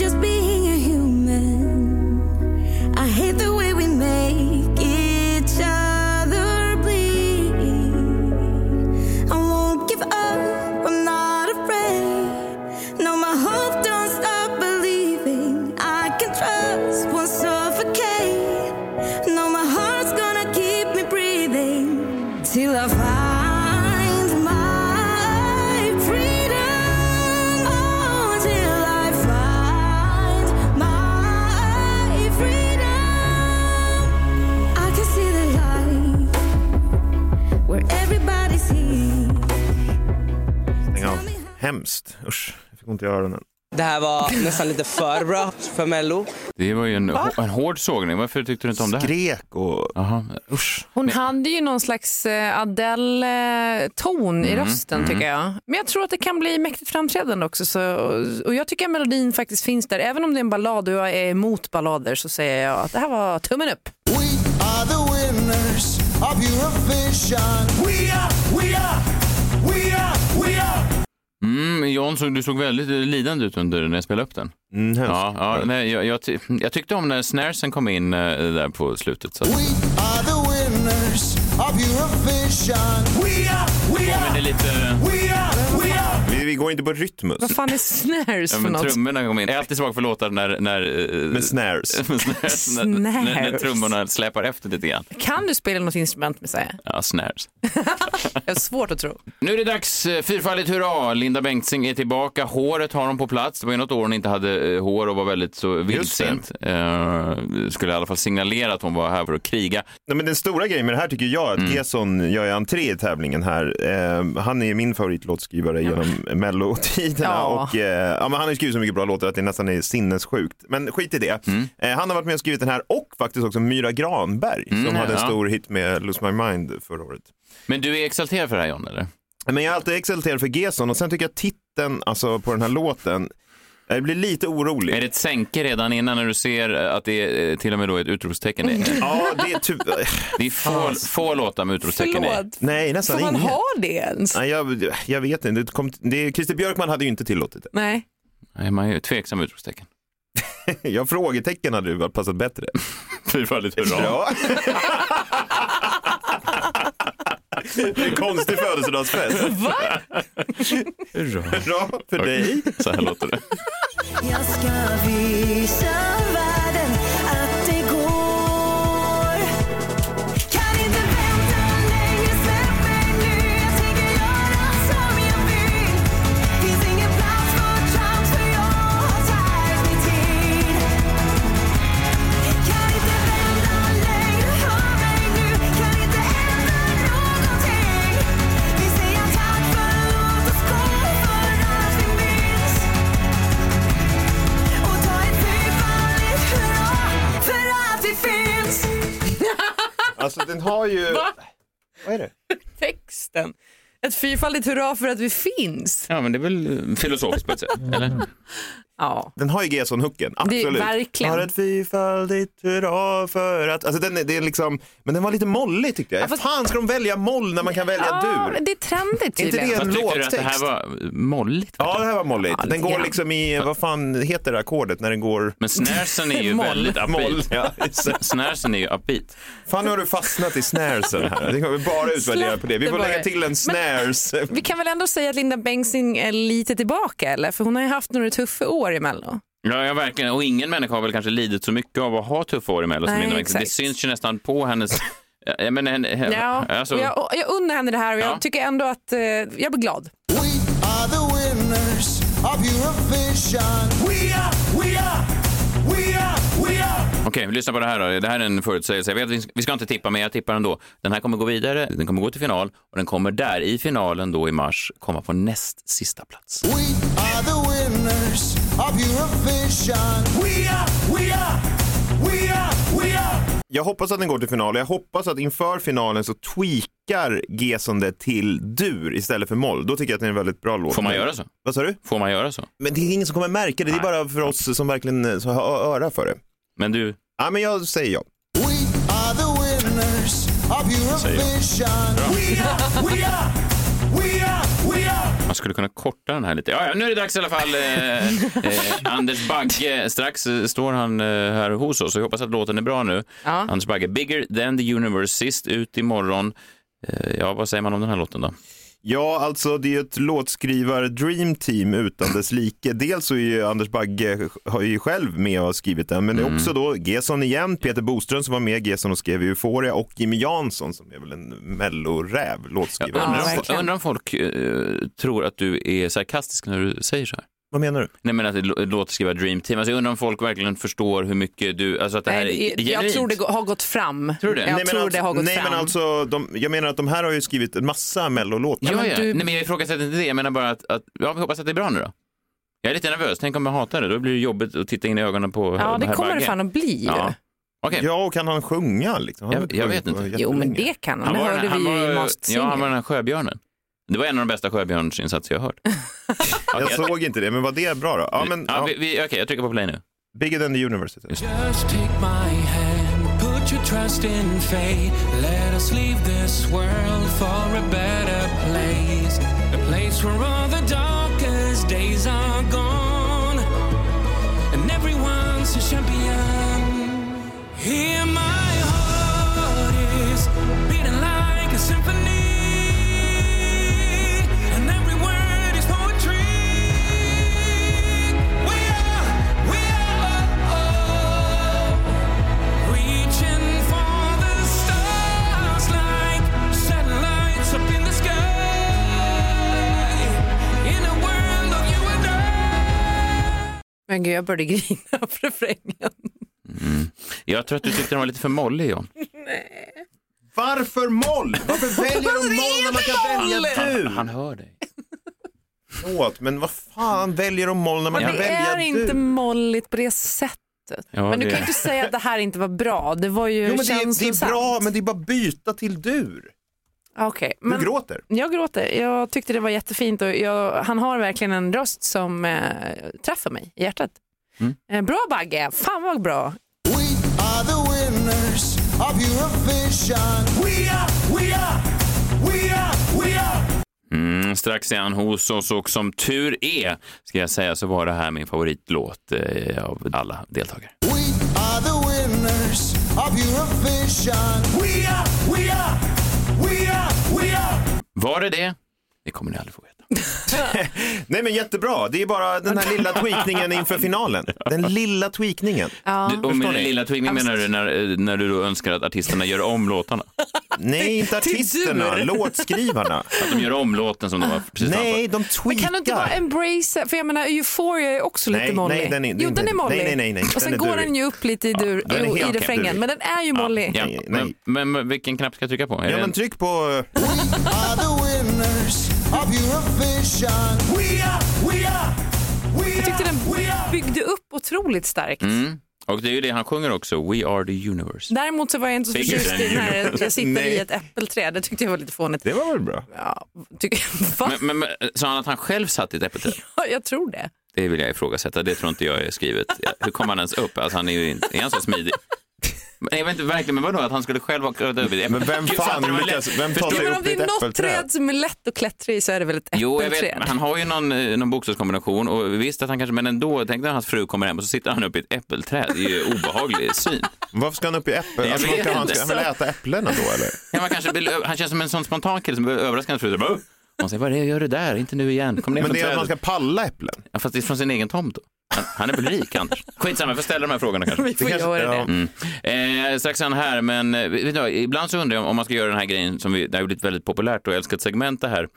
[SPEAKER 5] Just being a human. I hate the way we make each other bleed. I won't give up. I'm not afraid. No, my hope don't stop believing. I can trust won't suffocate. No, my heart's gonna keep me breathing till I find my freedom. Oh, till I find my freedom. I can see the light where everybody sees.
[SPEAKER 4] Stäng av. Hemskt. Usch, jag fick ont i öronen.
[SPEAKER 9] Det här var nästan lite för bra för Mello.
[SPEAKER 2] Det var ju en, hå- en hård sågning. Varför tyckte du inte om det här?
[SPEAKER 4] Skrek och...
[SPEAKER 2] Jaha, usch.
[SPEAKER 3] Hon hade ju någon slags eh, Adele-ton i rösten tycker jag. Men jag tror att det kan bli mäktigt framträdande också. Så, och- och jag tycker att melodin faktiskt finns där. Även om det är en ballad och jag är emot ballader så säger jag att det här var tummen upp.
[SPEAKER 1] We are the winners of Eurovision. We are, we are, we are, we are.
[SPEAKER 2] Mm, Jan, såg, du såg väldigt lidande ut under när jag spelade upp den.
[SPEAKER 4] Mm, hemskt.
[SPEAKER 2] Ja, ja, nej, jag, jag, ty- jag tyckte om när snärsen kom in eh, där på slutet. Så.
[SPEAKER 1] We are the winners of Eurovision. We are, we
[SPEAKER 2] Men det är
[SPEAKER 1] are,
[SPEAKER 2] lite...
[SPEAKER 1] we are, we are.
[SPEAKER 4] Vi, vi går inte på rytmus.
[SPEAKER 3] Vad fan är snares
[SPEAKER 2] Ja,
[SPEAKER 3] för
[SPEAKER 2] men
[SPEAKER 3] något?
[SPEAKER 2] trummorna kom in. Jag är alltid svag för låtar när... när eh,
[SPEAKER 4] Med
[SPEAKER 2] [laughs]
[SPEAKER 4] snares.
[SPEAKER 2] med snares. När, när, när
[SPEAKER 3] Snares.
[SPEAKER 2] trummorna släpar efter lite grann.
[SPEAKER 3] Kan du spela något instrument med sig?
[SPEAKER 2] Ja, snares.
[SPEAKER 3] Jag har svårt att tro.
[SPEAKER 2] Nu är det dags. eh, Fyrfaldigt hurra! Linda Bengtzing är tillbaka. Håret har hon på plats. Det var ju något år hon inte hade eh, hår och var väldigt så vildsint. Eh, skulle i alla fall signalera att hon var här för att kriga.
[SPEAKER 4] Nej, men den stora grejen med det här tycker jag, att Gesson gör ju entré i tävlingen här. Eh, han är ju min favoritlåtskrivare genom mellotiderna.
[SPEAKER 3] Ja.
[SPEAKER 4] Och, eh, ja, men han har ju skrivit så mycket bra låtar att det nästan är sinnessjukt. Men skit i det.
[SPEAKER 2] Mm.
[SPEAKER 4] Eh, han har varit med och skrivit den här och faktiskt också Myra Granberg som hade en
[SPEAKER 2] ja.
[SPEAKER 4] stor hit med Lose My Mind förra året.
[SPEAKER 2] Men du är exalterad för det här, John, eller?
[SPEAKER 4] Men jag är alltid exalterad för Gesson och sen tycker jag titeln alltså, på den här låten, jag blir lite orolig.
[SPEAKER 2] Är det ett sänke redan innan när du ser att det är eh, till och med då ett utropstecken? [laughs] Det-
[SPEAKER 4] Ja, det är typ...
[SPEAKER 2] Det är få, få låtar med utropstecken i.
[SPEAKER 3] Förlåt,
[SPEAKER 4] Nej,
[SPEAKER 3] får
[SPEAKER 4] nästan
[SPEAKER 3] man
[SPEAKER 4] inget.
[SPEAKER 3] ha det ens?
[SPEAKER 4] Nej, jag, jag vet inte. Det kom, det, Christer Björkman hade ju inte tillåtit det.
[SPEAKER 3] Nej.
[SPEAKER 2] Nej, man är ju tveksam med utropstecken.
[SPEAKER 4] [laughs] Ja, frågetecken hade ju passat bättre.
[SPEAKER 2] Fyrfaldigt
[SPEAKER 4] Ja. [laughs] Det är en konstig födelsedagsfest. Va? Hurra för dig.
[SPEAKER 2] Så här låter det.
[SPEAKER 5] Jag ska visa världen att det går Kan inte vänta längre, släpp mig nu Jag tänker göra som jag vill Finns ingen plats för trams för jag har tagit min tid Kan inte vänta längre, hör mig nu Kan inte ändra någonting Vi säger tack, förlåt och skål för allt vi minns och ta ett fyrfaldigt hurra för att vi finns.
[SPEAKER 4] Alltså den har ju... Vad är det?
[SPEAKER 3] Texten. Ett fyrfaldigt hurra för att vi finns.
[SPEAKER 2] Ja, men det är väl eh, filosofiskt på ett sätt, eller?
[SPEAKER 3] Ja.
[SPEAKER 4] Den har ju Gesson-hooken, absolut.
[SPEAKER 3] verkligen.
[SPEAKER 4] Har ett fyrfaldigt hurra för att... Alltså den, är- det är liksom... Men den var lite mollig tyckte jag. Fan ska de välja moll när man kan välja
[SPEAKER 3] Ja,
[SPEAKER 4] dur?
[SPEAKER 3] det är trendigt
[SPEAKER 4] Inte det
[SPEAKER 3] tydligen.
[SPEAKER 2] Fast
[SPEAKER 4] en
[SPEAKER 2] tyckte du att
[SPEAKER 4] låttext.
[SPEAKER 2] det här var eh, molligt?
[SPEAKER 4] Ja, det här var molligt. den går
[SPEAKER 3] grann.
[SPEAKER 4] liksom i, vad fan heter det ackordet när den går...
[SPEAKER 2] Men snärsen är ju
[SPEAKER 3] [laughs] Moll.
[SPEAKER 2] väldigt
[SPEAKER 4] Moll,
[SPEAKER 2] upbeat.
[SPEAKER 4] ja. just det.
[SPEAKER 2] Snärsen är ju upbeat.
[SPEAKER 4] Fan, nu har du fastnat i snaresen här. Det kommer vi bara utvärdera på det. Vi
[SPEAKER 3] Släpp
[SPEAKER 4] får
[SPEAKER 3] det
[SPEAKER 4] lägga
[SPEAKER 3] bara.
[SPEAKER 4] till en snares.
[SPEAKER 3] Vi kan väl ändå säga att Linda Bengtzing är lite tillbaka eller? För hon har ju haft några tuffa år i Mello.
[SPEAKER 2] Ja, ja, verkligen. Och ingen människa har väl kanske lidit så mycket av att ha tuffa år emellan. som
[SPEAKER 3] Nej,
[SPEAKER 2] Linda Bengtzing. Det
[SPEAKER 3] exakt.
[SPEAKER 2] syns ju nästan på hennes... eh, Ja, men henne, henne,
[SPEAKER 3] Ja,
[SPEAKER 2] alltså,
[SPEAKER 3] och jag, och jag unnar henne det här och jag
[SPEAKER 2] Ja.
[SPEAKER 3] tycker ändå att eh, jag blir glad.
[SPEAKER 1] We are the winners of Eurovision. We are, we are, we are, we are.
[SPEAKER 2] Okej, vi lyssnar på det här då. Det här är en förutsägelse. Jag vet, att vi- vi ska inte tippa, men jag tippar ändå. Den här kommer gå vidare, den kommer gå till final och den kommer där i finalen då i mars komma på näst sista plats.
[SPEAKER 1] We are the winners of Eurovision. We are, we are, we are, we are.
[SPEAKER 4] Jag hoppas att den går till final. Jag hoppas att inför finalen så tweakar Gesson det till dur istället för moll. Då tycker jag att det är en väldigt bra låt.
[SPEAKER 2] Får man göra så?
[SPEAKER 4] Vad sa du?
[SPEAKER 2] Får man göra så?
[SPEAKER 4] Men det är ingen som kommer märka det. Det är bara för oss som verkligen eh, så har ö- öra för det.
[SPEAKER 2] Men du,
[SPEAKER 4] Ja, men jag säger ja.
[SPEAKER 1] We are the winners of Eurovision. We are, we are, we are, we are.
[SPEAKER 2] man skulle kunna korta den här lite. Ja, ja, nu är det dags i alla fall. Eh, eh, Anders Bagge, strax eh, står han eh, här hos oss. Vi hoppas att låten är bra nu. Anders Bagge, Bigger than the universe, sist ut imorgon. Eh, ja, vad säger man om den här låten då?
[SPEAKER 4] Ja, alltså det är ju ett låtskrivar-dream team utan dess like. Dels så är ju Anders Bagge har ju själv med och har skrivit den, men det är också då Gesson igen, Peter Boström som var med Gesson och skrev Euphoria och Jimmy Jansson som är väl en melloräv
[SPEAKER 2] Jag
[SPEAKER 4] låtskrivare.
[SPEAKER 2] undrar,
[SPEAKER 3] Ja,
[SPEAKER 2] om,
[SPEAKER 3] verkligen.
[SPEAKER 2] jag undrar om folk eh, tror att du är sarkastisk när du säger så här.
[SPEAKER 4] Vad menar du?
[SPEAKER 2] Nej men att det lå- låter skriva Dream Team. Alltså, jag undrar om folk verkligen förstår hur mycket du, alltså att det här
[SPEAKER 3] Nej,
[SPEAKER 2] är
[SPEAKER 3] jag
[SPEAKER 2] genuint.
[SPEAKER 3] tror det gå- har gått fram.
[SPEAKER 2] Tror du det?
[SPEAKER 3] Jag
[SPEAKER 4] Nej, men
[SPEAKER 3] tror
[SPEAKER 4] alltså,
[SPEAKER 3] det har gått
[SPEAKER 4] nej,
[SPEAKER 3] fram.
[SPEAKER 4] Men alltså, de, jag menar att de här har ju skrivit en massa mellolåtar.
[SPEAKER 2] Ja, ja.
[SPEAKER 3] du-
[SPEAKER 2] Nej, men jag ifrågasätter inte det. Jag menar bara att, att ja, vi hoppas att det är bra nu då. Jag är lite nervös. Tänk om jag hatar det. Då blir det jobbigt att titta in i ögonen på
[SPEAKER 3] ja, det
[SPEAKER 2] herr
[SPEAKER 3] kommer det
[SPEAKER 2] Bagge.
[SPEAKER 3] fan att bli.
[SPEAKER 2] Ja. Okej,
[SPEAKER 4] Ja, och kan han sjunga? Liksom? Han
[SPEAKER 2] Jag-
[SPEAKER 4] har väl
[SPEAKER 2] jag
[SPEAKER 4] sjungit
[SPEAKER 2] vet
[SPEAKER 4] på
[SPEAKER 2] inte.
[SPEAKER 3] Jo, men
[SPEAKER 4] jättelänge.
[SPEAKER 3] det kan han. Det
[SPEAKER 2] var den-
[SPEAKER 3] hörde vi i Masked
[SPEAKER 2] ja,
[SPEAKER 3] Singer.
[SPEAKER 2] han var den här sjöbjörnen. Det var en av de bästa sjöbjörnsinsatser jag har
[SPEAKER 3] [laughs]
[SPEAKER 2] hört. Okej,
[SPEAKER 4] Jag såg inte det, men var det bra då? Ja, men,
[SPEAKER 2] ja,
[SPEAKER 4] ja,
[SPEAKER 2] vi, vi, okej, jag trycker på play nu.
[SPEAKER 4] Bigger than the universe. heter det.
[SPEAKER 8] Just take my hand, put your trust in fate. Let us leave this world for a better place. A place where all the darkest days are gone. And everyone's a champion. Here my heart is beating like a symphony. And every word is poetry. We are, we are, oh, oh. reaching for the stars like satellites up in the sky. In a world of you and I.
[SPEAKER 3] Men gud, jag började grina av refrängen.
[SPEAKER 2] Jag tror att du tyckte den var lite för mollig, John.
[SPEAKER 4] Varför moll?
[SPEAKER 3] [laughs]
[SPEAKER 4] Varför väljer de moll när man kan välja
[SPEAKER 2] Han,
[SPEAKER 4] dur?
[SPEAKER 2] han hör dig.
[SPEAKER 4] Förlåt, men vad fan väljer de moll när man
[SPEAKER 3] Men
[SPEAKER 4] kan
[SPEAKER 3] det är
[SPEAKER 4] välja
[SPEAKER 3] inte
[SPEAKER 4] dur?
[SPEAKER 3] molligt på det sättet.
[SPEAKER 2] Ja,
[SPEAKER 3] men du
[SPEAKER 2] det-
[SPEAKER 3] kan ju inte säga att det här inte var bra. Det var ju
[SPEAKER 4] Jo, men det, är, det
[SPEAKER 3] känslosamt.
[SPEAKER 4] är bra, men det är bara byta till dur.
[SPEAKER 3] Okej,
[SPEAKER 4] Du
[SPEAKER 3] men
[SPEAKER 4] gråter.
[SPEAKER 3] jag gråter. Jag tyckte det var jättefint och jag, han har verkligen en röst som eh, träffar mig i hjärtat.
[SPEAKER 4] Mm.
[SPEAKER 3] Eh, bra Bagge, fan vad bra.
[SPEAKER 1] We are the winners of Eurovision. We are, we are, we are, we are.
[SPEAKER 2] Mm, strax är han hos oss och som tur är, ska jag säga, så var det här min favoritlåt eh, av alla deltagare.
[SPEAKER 1] We are the winners of Eurovision. We are, we are, we are, we are.
[SPEAKER 2] Var det det? Det kommer ni aldrig få veta.
[SPEAKER 4] Nej, men jättebra. Det är bara den här lilla tweakningen inför finalen. Den lilla tweakningen.
[SPEAKER 2] Du, och med
[SPEAKER 4] ni?
[SPEAKER 2] lilla tweakning menar du när, eh, när du då önskar att artisterna gör om låtarna?
[SPEAKER 4] Nej, inte
[SPEAKER 3] [laughs]
[SPEAKER 4] artisterna, låtskrivarna.
[SPEAKER 2] Att de gör om låten som de var precis
[SPEAKER 4] Nej,
[SPEAKER 2] framför?
[SPEAKER 4] de
[SPEAKER 3] Men kan du inte bara
[SPEAKER 4] tweakar.
[SPEAKER 3] embrace, för jag menar Euphoria är också
[SPEAKER 4] Nej,
[SPEAKER 3] lite
[SPEAKER 4] nej,
[SPEAKER 3] mollig.
[SPEAKER 4] den är-
[SPEAKER 3] jo,
[SPEAKER 4] den-
[SPEAKER 3] den är mollig.
[SPEAKER 4] nej, nej, nej, nej,
[SPEAKER 3] Och sen
[SPEAKER 4] den är
[SPEAKER 3] går
[SPEAKER 4] durig.
[SPEAKER 3] den ju upp lite i, dur,
[SPEAKER 4] den är
[SPEAKER 3] jo, i
[SPEAKER 4] helt
[SPEAKER 3] refrängen,
[SPEAKER 4] durig.
[SPEAKER 3] men den är ju mollig.
[SPEAKER 2] Ja,
[SPEAKER 4] Nej, nej.
[SPEAKER 2] men, men, men vilken knapp ska jag trycka på? Är
[SPEAKER 4] Ja,
[SPEAKER 2] det
[SPEAKER 4] men
[SPEAKER 2] en-
[SPEAKER 4] tryck på...
[SPEAKER 1] Are the winners of Eurovision. We are, we are, we
[SPEAKER 3] Jag tyckte den
[SPEAKER 1] are, we are.
[SPEAKER 3] byggde upp otroligt starkt.
[SPEAKER 2] Mm. Och det är ju det han sjunger också, We are the universe.
[SPEAKER 3] Däremot så var jag inte så
[SPEAKER 2] Bigger
[SPEAKER 3] förtjust
[SPEAKER 2] than
[SPEAKER 3] i den här jag sitter
[SPEAKER 4] Nej.
[SPEAKER 3] i ett äppelträd. Det tyckte jag var lite fånigt.
[SPEAKER 4] Det var väl bra?
[SPEAKER 3] Ja, tycker, va? [laughs]
[SPEAKER 2] eh, Men, men, men, sa han att han själv satt i ett äppelträd?
[SPEAKER 3] jag tror det.
[SPEAKER 2] Det vill jag ifrågasätta. Det tror inte jag är skrivet. Ja, Hur kom han ens upp? Alltså, han är ju inte, är han så smidig? Men Jag vet inte verkligen, men vadå att han skulle själv ha klivit över det?
[SPEAKER 4] Men vem
[SPEAKER 2] Gud, fattar
[SPEAKER 4] fan
[SPEAKER 2] du vad lätt-
[SPEAKER 4] lyckas, vem
[SPEAKER 2] Förstår
[SPEAKER 4] tar sig
[SPEAKER 2] du?
[SPEAKER 3] Men om
[SPEAKER 4] upp
[SPEAKER 3] det
[SPEAKER 4] i ett
[SPEAKER 3] är något
[SPEAKER 4] äppelträd?
[SPEAKER 3] träd som är lätt att klättra i så är det väl ett äppelträd?
[SPEAKER 2] Jo, jag vet, men han har ju någon, eh, någon bokstavskombination och visst att han kanske, men ändå, tänk när hans fru kommer hem och så sitter han uppe i ett äppelträd. Det är ju obehaglig syn.
[SPEAKER 4] Varför ska han upp i äppel?
[SPEAKER 2] Jag
[SPEAKER 4] Alltså, vad
[SPEAKER 2] vet
[SPEAKER 4] ska han, ska
[SPEAKER 2] inte.
[SPEAKER 4] han väl äta äpplena då eller?
[SPEAKER 2] Ja, man kanske vill, ö- han känns som en sån spontan kille som vill överraska hans fru. så bara, "Åh!" Hon säger, vad är det jag gör det där? Inte nu igen. Kom ner
[SPEAKER 4] Men
[SPEAKER 2] från
[SPEAKER 4] det är att man
[SPEAKER 2] trädet.
[SPEAKER 4] ska palla äpplen.
[SPEAKER 2] Ja, fast det är från sin egen tomt då. Han, han är väl rik, Anders? Skitsamma, jag får ställa de här frågorna kanske.
[SPEAKER 3] Vi får
[SPEAKER 4] kanske-
[SPEAKER 3] göra
[SPEAKER 4] ja.
[SPEAKER 3] det.
[SPEAKER 2] Mm. Eh, strax sen här, men eh, vet du, vad, ibland så undrar jag om man ska göra den här grejen som vi, det har ju blivit väldigt populärt och jag älskar ett segment det här,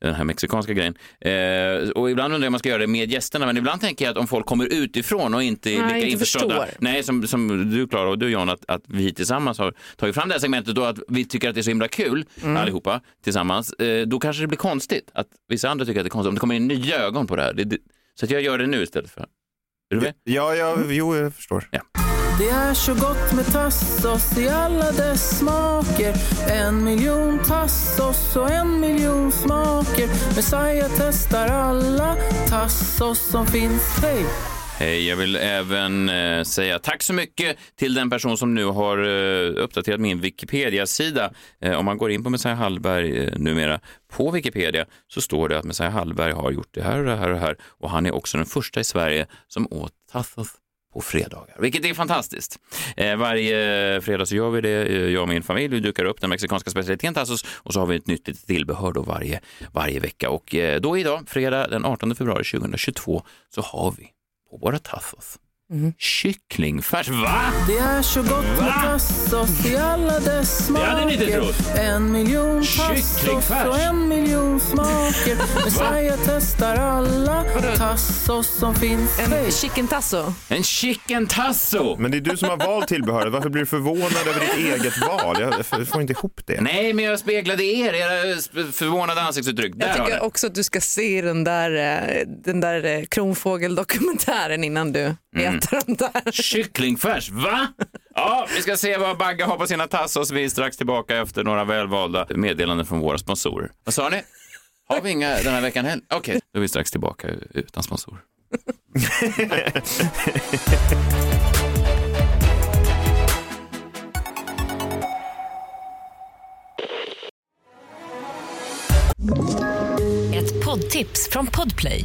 [SPEAKER 2] den här mexikanska grejen. Eh, och ibland undrar jag om man ska göra det med gästerna, men ibland tänker jag att om folk kommer utifrån och inte är
[SPEAKER 3] Nej,
[SPEAKER 2] lika
[SPEAKER 3] inte
[SPEAKER 2] införstådda.
[SPEAKER 3] förstår.
[SPEAKER 2] Nej, som, som du Klara och du John, att, att vi tillsammans har tagit fram det här segmentet och att vi tycker att det är så himla kul
[SPEAKER 3] Mm.
[SPEAKER 2] allihopa tillsammans, eh, då kanske det blir konstigt att vissa andra tycker att det är konstigt om det kommer in nya ögon på det här. Det, det, så att jag gör det nu istället för... Är du med?
[SPEAKER 4] Ja, ja, jo, jag förstår.
[SPEAKER 8] Det är så gott med tassos i alla dess smaker En miljon tassos och en miljon smaker Messiah testar alla tassos som finns Hej!
[SPEAKER 2] Hej, jag vill även eh, säga tack så mycket till den person som nu har eh, uppdaterat min Wikipedia-sida. Eh, om man går in på Messiah Hallberg eh, numera på Wikipedia så står det att Messiah Hallberg har gjort det här och det här och det här och han är också den första i Sverige som åt tassos på fredagar, vilket är fantastiskt. Eh, varje fredag så gör vi det, eh, jag och min familj, vi dukar upp den mexikanska specialiteten tassos och så har vi ett nytt litet tillbehör då varje, varje vecka och eh, då idag, fredag den 18 februari 2022, så har vi på våra tassos. Kycklingfärs, va?
[SPEAKER 8] Mm. Det är så gott med tassos i alla dess
[SPEAKER 2] hade ni inte
[SPEAKER 8] smaker
[SPEAKER 2] trott.
[SPEAKER 8] En miljon tassos
[SPEAKER 2] Kycklingfärs.
[SPEAKER 8] och en miljon [laughs] smaker Messiah testar alla tassos som finns Hej!
[SPEAKER 3] En chicken tasso.
[SPEAKER 2] En chicken tasso!
[SPEAKER 4] Men det är du som har valt tillbehöret. Varför blir du förvånad över ditt eget val? Jag f- får inte ihop det.
[SPEAKER 2] Nej, men jag speglade er, era sp- förvånade ansiktsuttryck. Där
[SPEAKER 3] Jag
[SPEAKER 2] har
[SPEAKER 3] tycker
[SPEAKER 2] ni.
[SPEAKER 3] också att du ska se den där, eh, den där eh, kronfågeldokumentären innan du
[SPEAKER 2] Mm.
[SPEAKER 3] äter den där.
[SPEAKER 2] Kycklingfärs, va? Ja, vi ska se vad Bagge har på sina tassos. Vi är strax tillbaka efter några välvalda meddelanden från våra sponsorer. Vad sa ni? Har vi inga den här veckan heller? Okej, då är vi strax tillbaka utan sponsorer.
[SPEAKER 7] Ett poddtips från Podplay.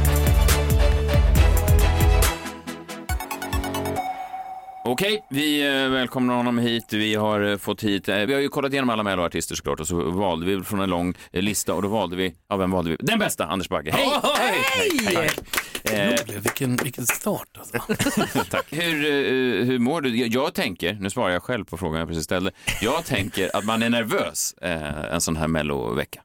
[SPEAKER 2] Okej, vi eh, välkomnar honom hit. Vi har eh, fått hit, eh, vi har ju kollat igenom alla Melloartister såklart och så valde vi från en lång eh, lista och då valde vi, ja vem valde vi? Den bästa, Anders Bagge. Hej!
[SPEAKER 3] Hej!
[SPEAKER 2] Eh,
[SPEAKER 10] Vilken, vilken start alltså. [laughs]
[SPEAKER 2] hur, eh, hur mår du? Jag, jag tänker, nu svarar jag själv på frågan jag precis ställde, jag tänker att man är nervös eh, en sån här mellovecka.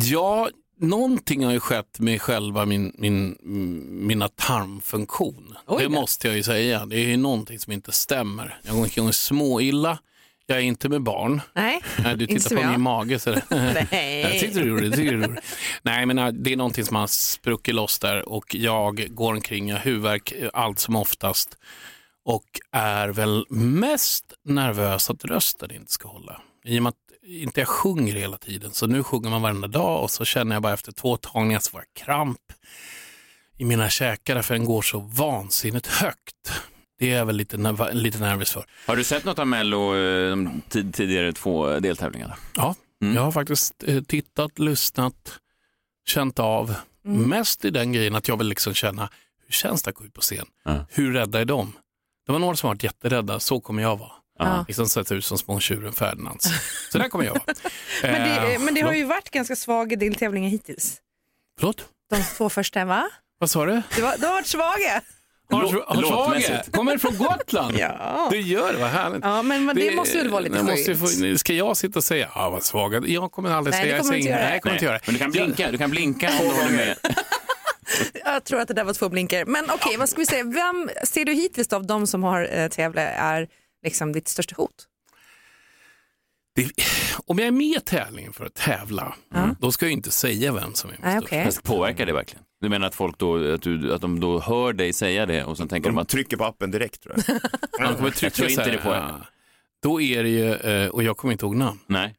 [SPEAKER 10] Ja, någonting har ju skett med själva min, min, m- mina tarmfunktion. det måste jag ju säga. Det är ju någonting som inte stämmer. Jag går omkring och småilla. Jag är inte med barn.
[SPEAKER 3] Nej.
[SPEAKER 10] Nej, du
[SPEAKER 3] Inte
[SPEAKER 10] tittar
[SPEAKER 3] som
[SPEAKER 10] på
[SPEAKER 3] jag.
[SPEAKER 10] min mage. Så
[SPEAKER 3] [laughs] Nej.
[SPEAKER 10] Jag tyckte du gjorde det. Tyckte du gjorde det. Nej, men äh, det är någonting som har spruckit loss där och jag går omkring, jag har huvudvärk eh, allt som oftast och är väl mest nervös att rösten inte ska hålla. I och med att inte jag sjunger hela tiden, så nu sjunger man varenda dag och så känner jag bara efter två tagningar så får jag kramp i mina käkar för den går så vansinnigt högt. Det är jag väl lite, nerv- lite nervös för.
[SPEAKER 2] Har du sett något av Mello, eh, de tid, tidigare två deltävlingarna?
[SPEAKER 10] Ja,
[SPEAKER 2] Mm.
[SPEAKER 10] jag har faktiskt eh, tittat, lyssnat, känt av.
[SPEAKER 3] Mm.
[SPEAKER 10] Mest i den grejen att jag vill liksom känna, hur känns det att gå ut på scen?
[SPEAKER 2] Ja.
[SPEAKER 10] Hur rädda är de? Det var några som varit jätterädda, så kommer jag vara.
[SPEAKER 3] Ja.
[SPEAKER 10] Liksom sett ut som små tjuren Ferdinands. Så där kommer jag vara.
[SPEAKER 3] [laughs] Men det,
[SPEAKER 10] Eh,
[SPEAKER 3] men det har
[SPEAKER 10] förlåt?
[SPEAKER 3] ju varit ganska svaga deltävlingar hittills.
[SPEAKER 10] Förlåt?
[SPEAKER 3] De två första, va?
[SPEAKER 10] Vad sa du?
[SPEAKER 3] Det var, de har varit svaga.
[SPEAKER 2] Lå-
[SPEAKER 10] Har- Har
[SPEAKER 2] låtmässigt.
[SPEAKER 10] Svage? Kommer du från Gotland?
[SPEAKER 3] [laughs] Ja.
[SPEAKER 10] Du gör det, vad härligt.
[SPEAKER 3] Ja, men, men det, måste väl vara lite
[SPEAKER 10] det måste ju
[SPEAKER 3] skönt.
[SPEAKER 10] få, Ska jag sitta och säga, ah, vad svaga, jag kommer aldrig
[SPEAKER 3] Nej,
[SPEAKER 10] säga,
[SPEAKER 3] det
[SPEAKER 10] jag
[SPEAKER 3] kommer du
[SPEAKER 10] säger
[SPEAKER 3] inte
[SPEAKER 10] inget.
[SPEAKER 3] göra.
[SPEAKER 10] Nej, jag kommer inte göra det.
[SPEAKER 2] Men du kan
[SPEAKER 10] Jag-
[SPEAKER 2] blinka, du kan blinka om du håller med.
[SPEAKER 3] Jag tror att det där var två blinkar. Men okej, vad ska vi säga? Vem ser du hittills av de som har eh, tävlat är liksom ditt största hot?
[SPEAKER 10] Det, om jag är med i tävlingen för att tävla, mm, då ska jag ju inte säga vem som är min
[SPEAKER 3] Nej,
[SPEAKER 10] största.
[SPEAKER 3] okej.
[SPEAKER 2] Fast påverkar det verkligen? Du menar att folk då, att, du, att de då hör dig säga det och sen tänker de, att...
[SPEAKER 4] trycker på appen direkt tror
[SPEAKER 2] jag.
[SPEAKER 10] De kommer trycka
[SPEAKER 2] jag tror
[SPEAKER 10] så
[SPEAKER 2] inte
[SPEAKER 10] här,
[SPEAKER 2] det på
[SPEAKER 10] ja. Då är det ju, eh, och jag kommer inte ihåg namn. [laughs]
[SPEAKER 2] Nej.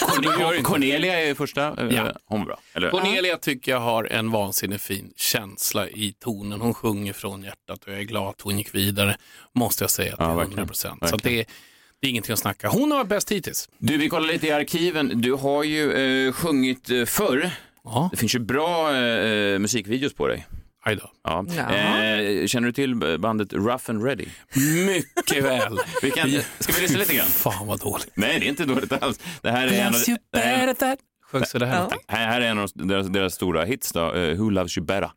[SPEAKER 10] Cornelia,
[SPEAKER 2] Cornelia är första, eh,
[SPEAKER 10] Ja.
[SPEAKER 2] hon var bra. Eller?
[SPEAKER 10] Cornelia tycker jag har en vansinnigt fin känsla i tonen. Hon sjunger från hjärtat och jag är glad att hon gick vidare, måste jag säga till 100 procent. Så att det, är- det är ingenting att snacka. Hon har varit bäst hittills.
[SPEAKER 2] Du, vi kollar lite i arkiven. Du har ju eh, sjungit eh, förr. Det finns ju bra eh, musikvideos på dig.
[SPEAKER 10] Aj då.
[SPEAKER 2] Ja.
[SPEAKER 10] Ja.
[SPEAKER 2] Eh, känner du till bandet Rough and Ready?
[SPEAKER 10] Mycket väl.
[SPEAKER 2] Vi kan, ska vi lyssna lite grann?
[SPEAKER 10] Fan vad dåligt.
[SPEAKER 2] Nej, det är inte dåligt alls. Det här är en av,
[SPEAKER 10] Loves you
[SPEAKER 2] det här,
[SPEAKER 10] better than- Sjöng så det här.
[SPEAKER 2] här, här är en av deras, deras stora hits då, eh, Who Loves You Better.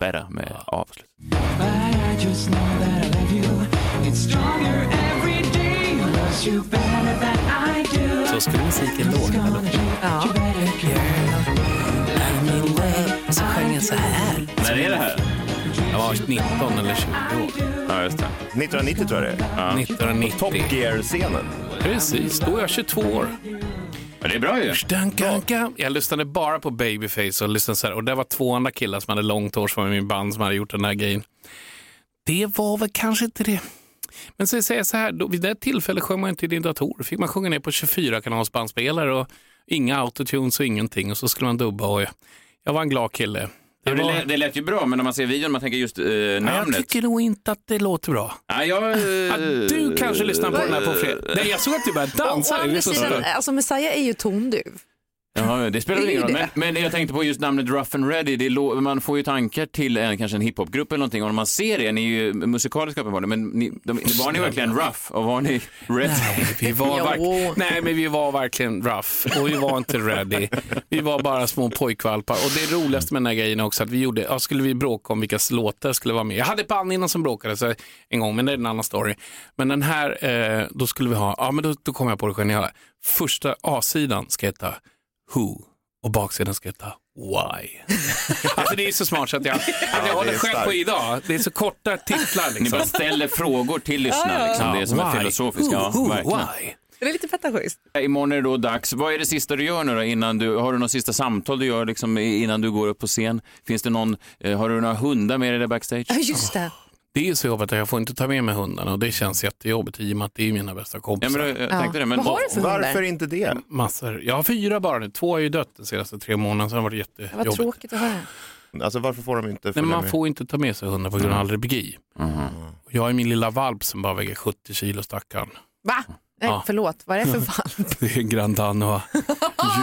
[SPEAKER 2] Better med A på slutet.
[SPEAKER 8] I just know that I love you. It's stronger every day. Loves you better than I do.
[SPEAKER 10] Så skulle musiken låta.
[SPEAKER 8] Ja.
[SPEAKER 11] Och så sjöng jag så här.
[SPEAKER 2] När är det här?
[SPEAKER 10] Jag var 19 eller 20 år.
[SPEAKER 2] Ja, just det.
[SPEAKER 4] 1990 tror jag det är.
[SPEAKER 10] 1990.
[SPEAKER 4] Top Gear-scenen.
[SPEAKER 10] Precis, då är jag 22 år.
[SPEAKER 2] Ja, det är bra ju.
[SPEAKER 10] Stankanka. Jag lyssnade bara på Babyface och lyssnade så här. Och det var två andra killar som hade långt hår som var i min band som hade gjort den här grejen. Det var väl kanske inte det. Men så säger jag så här, då, vid det tillfället sjöng man inte i din dator. fick man sjunga ner på 24-kanals bandspelare och inga autotunes och ingenting. Och så skulle man dubba och jag, jag var en glad kille.
[SPEAKER 2] Det, lät, det lät ju bra, men när man ser videon man tänker just eh,
[SPEAKER 10] Jag
[SPEAKER 2] namnet.
[SPEAKER 10] tycker nog inte att det låter bra.
[SPEAKER 2] Ja, jag, eh,
[SPEAKER 10] Ah, du kanske lyssnar på den här på fredag. Nej, jag såg att du började dansa.
[SPEAKER 3] Å
[SPEAKER 10] Det är
[SPEAKER 3] andra
[SPEAKER 10] så
[SPEAKER 3] sidan,
[SPEAKER 10] stört.
[SPEAKER 3] alltså Messiah är ju tonduv.
[SPEAKER 2] Ja, det spelar väl
[SPEAKER 3] Det är
[SPEAKER 2] ingen roll.
[SPEAKER 3] ju
[SPEAKER 2] Men, men det jag tänkte på just namnet Rough and Ready, det lå- man får ju tankar till en, kanske en hiphopgrupp eller någonting. Och när man ser er, ni är ju musikaliska uppenbarligen, men ni, de, var ni verkligen rough? Och var ni red?
[SPEAKER 10] Nej, vi var verk- Nej, men vi var verkligen rough och vi var inte ready. Vi var bara små pojkvalpar. Och det roligaste med den här grejen är också att vi gjorde, ja, skulle vi bråka om vilka låtar skulle vara med. Jag hade Pann innan som bråkade så en gång, men det är en annan story. Men den här, eh, då skulle vi ha, ja men då, då kom jag på det geniala. Första A-sidan ska heta Who och baksidan ska heta
[SPEAKER 2] [laughs]
[SPEAKER 10] Why. alltså det är så smart så att jag, att jag
[SPEAKER 2] det
[SPEAKER 10] håller
[SPEAKER 2] är
[SPEAKER 10] själv
[SPEAKER 2] starkt.
[SPEAKER 10] på idag. Det är så korta titlar liksom.
[SPEAKER 2] Ni bara ställer frågor till lyssnarna, liksom. det är som
[SPEAKER 10] Why?
[SPEAKER 2] en filosofisk. Ja,
[SPEAKER 10] Who, who,
[SPEAKER 2] verkligen.
[SPEAKER 10] why?
[SPEAKER 3] Det är lite fetaschysst.
[SPEAKER 2] Imorgon är det då dags. Vad är det sista du gör nu då? Innan du, har du något sista samtal du gör liksom, i- innan du går upp på scen? Finns det någon, eh, har du några hundar med dig där backstage?
[SPEAKER 3] Ja, just
[SPEAKER 2] Ah,
[SPEAKER 3] det.
[SPEAKER 10] Det är ju så jobbigt att jag får inte ta med mig hundarna och det känns jättejobbigt i och med att det är mina bästa kompisar.
[SPEAKER 2] Ja, men jag- jag tänkte Ja. det, men- Vad har du för hundar? Varför
[SPEAKER 4] inte det?
[SPEAKER 10] Massor. Jag har fyra bara nu. Två har ju dött de senaste tre månaderna så det har varit
[SPEAKER 3] Vad
[SPEAKER 10] jättejobbigt.
[SPEAKER 3] tråkigt att höra.
[SPEAKER 4] Alltså varför får de inte
[SPEAKER 10] Nej,
[SPEAKER 4] följa
[SPEAKER 10] men man
[SPEAKER 2] Mm.
[SPEAKER 4] med?
[SPEAKER 10] får inte ta med sig hundar på grund av allergi. Och Jag har min lilla valp som bara väger 70 kilo stackarn.
[SPEAKER 3] Va? Nej,
[SPEAKER 2] Ah.
[SPEAKER 10] Ja.
[SPEAKER 3] förlåt. Vad är det för valp?
[SPEAKER 10] Det är [laughs] Grand Danois.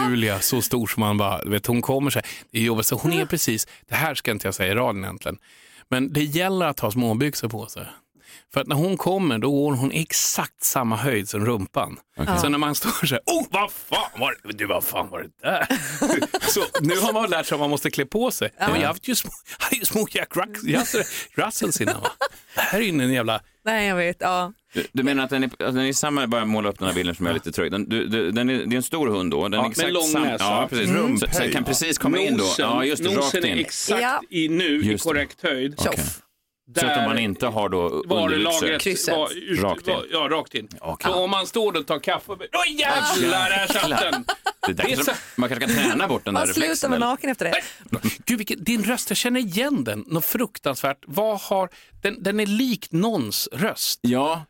[SPEAKER 10] Julia, så stor som man bara, du vet, hon kommer så här. Det är jobbigt, så hon är precis, det här ska inte jag säga i radion egentligen, men det gäller att ha småbyxor på sig. För att när hon kommer då går hon exakt samma höjd som rumpan.
[SPEAKER 2] Okej.
[SPEAKER 10] Så när man står så här, oh vad fan var det, du, vad fan var det där? så nu har man lärt sig att man måste klä på sig. Men jag har haft ju små, jag hade ju små Jack Rux- Russell- Russells innan va? Det här är ju en jävla,
[SPEAKER 3] [laughs] Nej, jag vet. Ja.
[SPEAKER 2] Du, du menar att den är, att den är samma, bara måla upp den här bilden som jag är lite trög. Den, du, du, den är, det är en stor hund då. Den
[SPEAKER 10] Ja,
[SPEAKER 2] är
[SPEAKER 10] med
[SPEAKER 2] exakt
[SPEAKER 10] lång
[SPEAKER 2] sam-
[SPEAKER 10] näsa.
[SPEAKER 2] Ja, precis.
[SPEAKER 10] Mm.
[SPEAKER 2] Så, så den kan precis komma in då.
[SPEAKER 10] Nosen-
[SPEAKER 2] Ja, just det,
[SPEAKER 10] nosen
[SPEAKER 2] rakt in.
[SPEAKER 10] är exakt Ja. i nu, i korrekt höjd.
[SPEAKER 2] Okej. Så att om man inte har då underbyxor.
[SPEAKER 10] varulagret var, ut-
[SPEAKER 2] Rakt in.
[SPEAKER 10] var, ja, rakt in.
[SPEAKER 2] Okej.
[SPEAKER 10] Så om man står och tar kaffe... Oj jävlar, där satt den!
[SPEAKER 2] Det där
[SPEAKER 10] Det är
[SPEAKER 2] kanske, man kanske kan träna bort den där
[SPEAKER 3] Man slutar
[SPEAKER 2] reflexen.
[SPEAKER 3] vara
[SPEAKER 2] eller?
[SPEAKER 3] naken efter det.
[SPEAKER 10] Gud, vilken, din röst, jag känner igen den. Något fruktansvärt. Vad har, den, den är lik någons röst.
[SPEAKER 2] Ja,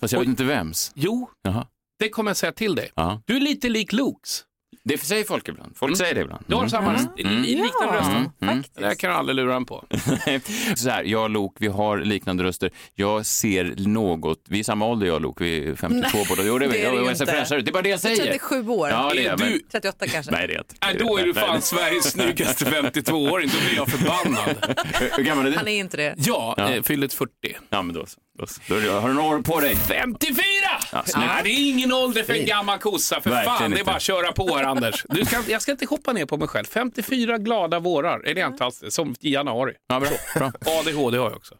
[SPEAKER 2] fast jag vet inte vems.
[SPEAKER 10] Jo,
[SPEAKER 2] Jaha.
[SPEAKER 10] det kommer jag säga till dig.
[SPEAKER 2] Ja.
[SPEAKER 10] Du är lite lik Lokes.
[SPEAKER 2] Det säger folk ibland. Folk säger det ibland.
[SPEAKER 10] Mm.
[SPEAKER 2] Mm.
[SPEAKER 10] Du har samma röst. Liknande
[SPEAKER 2] Ja,
[SPEAKER 10] röst.
[SPEAKER 2] faktiskt.
[SPEAKER 10] Det där kan jag aldrig lura en på.
[SPEAKER 2] Mm, [laughs] Så här, jag och Lok, vi har liknande röster. Jag ser något, vi är samma ålder jag och Lok, vi är 52
[SPEAKER 3] Nej,
[SPEAKER 2] båda. Jo, det är vi.
[SPEAKER 3] det är det
[SPEAKER 2] Jag,
[SPEAKER 3] ju
[SPEAKER 2] jag ser
[SPEAKER 3] inte.
[SPEAKER 2] fräschare ut. Det är bara det jag säger.
[SPEAKER 3] 37 år.
[SPEAKER 2] Ja, det är,
[SPEAKER 10] Är
[SPEAKER 2] jag, men...
[SPEAKER 10] du-
[SPEAKER 3] 38 kanske.
[SPEAKER 2] Nej, det är inte.
[SPEAKER 10] Nej, Äh, då är du fan Sveriges snyggaste 52-åring. Då blir jag förbannad.
[SPEAKER 2] [laughs] Hur gammal är du?
[SPEAKER 3] Han är inte det.
[SPEAKER 10] Ja,
[SPEAKER 2] Ja.
[SPEAKER 10] ja. fyllt 40.
[SPEAKER 2] Ja, men då så. Då, så. då är det- har du några år på dig?
[SPEAKER 10] 54!
[SPEAKER 2] Ja, snyggt.
[SPEAKER 10] Nej, det är ingen ålder för en
[SPEAKER 2] Fint.
[SPEAKER 10] gammal kossa. För
[SPEAKER 2] Verkligen
[SPEAKER 10] fan, det är
[SPEAKER 2] inte.
[SPEAKER 10] bara att köra på här, Anders. Du ska, jag ska inte hoppa ner på mig själv. 54 glada vårar är det inte alls, som i januari.
[SPEAKER 2] Ja, bra. bra.
[SPEAKER 10] ADHD har jag också.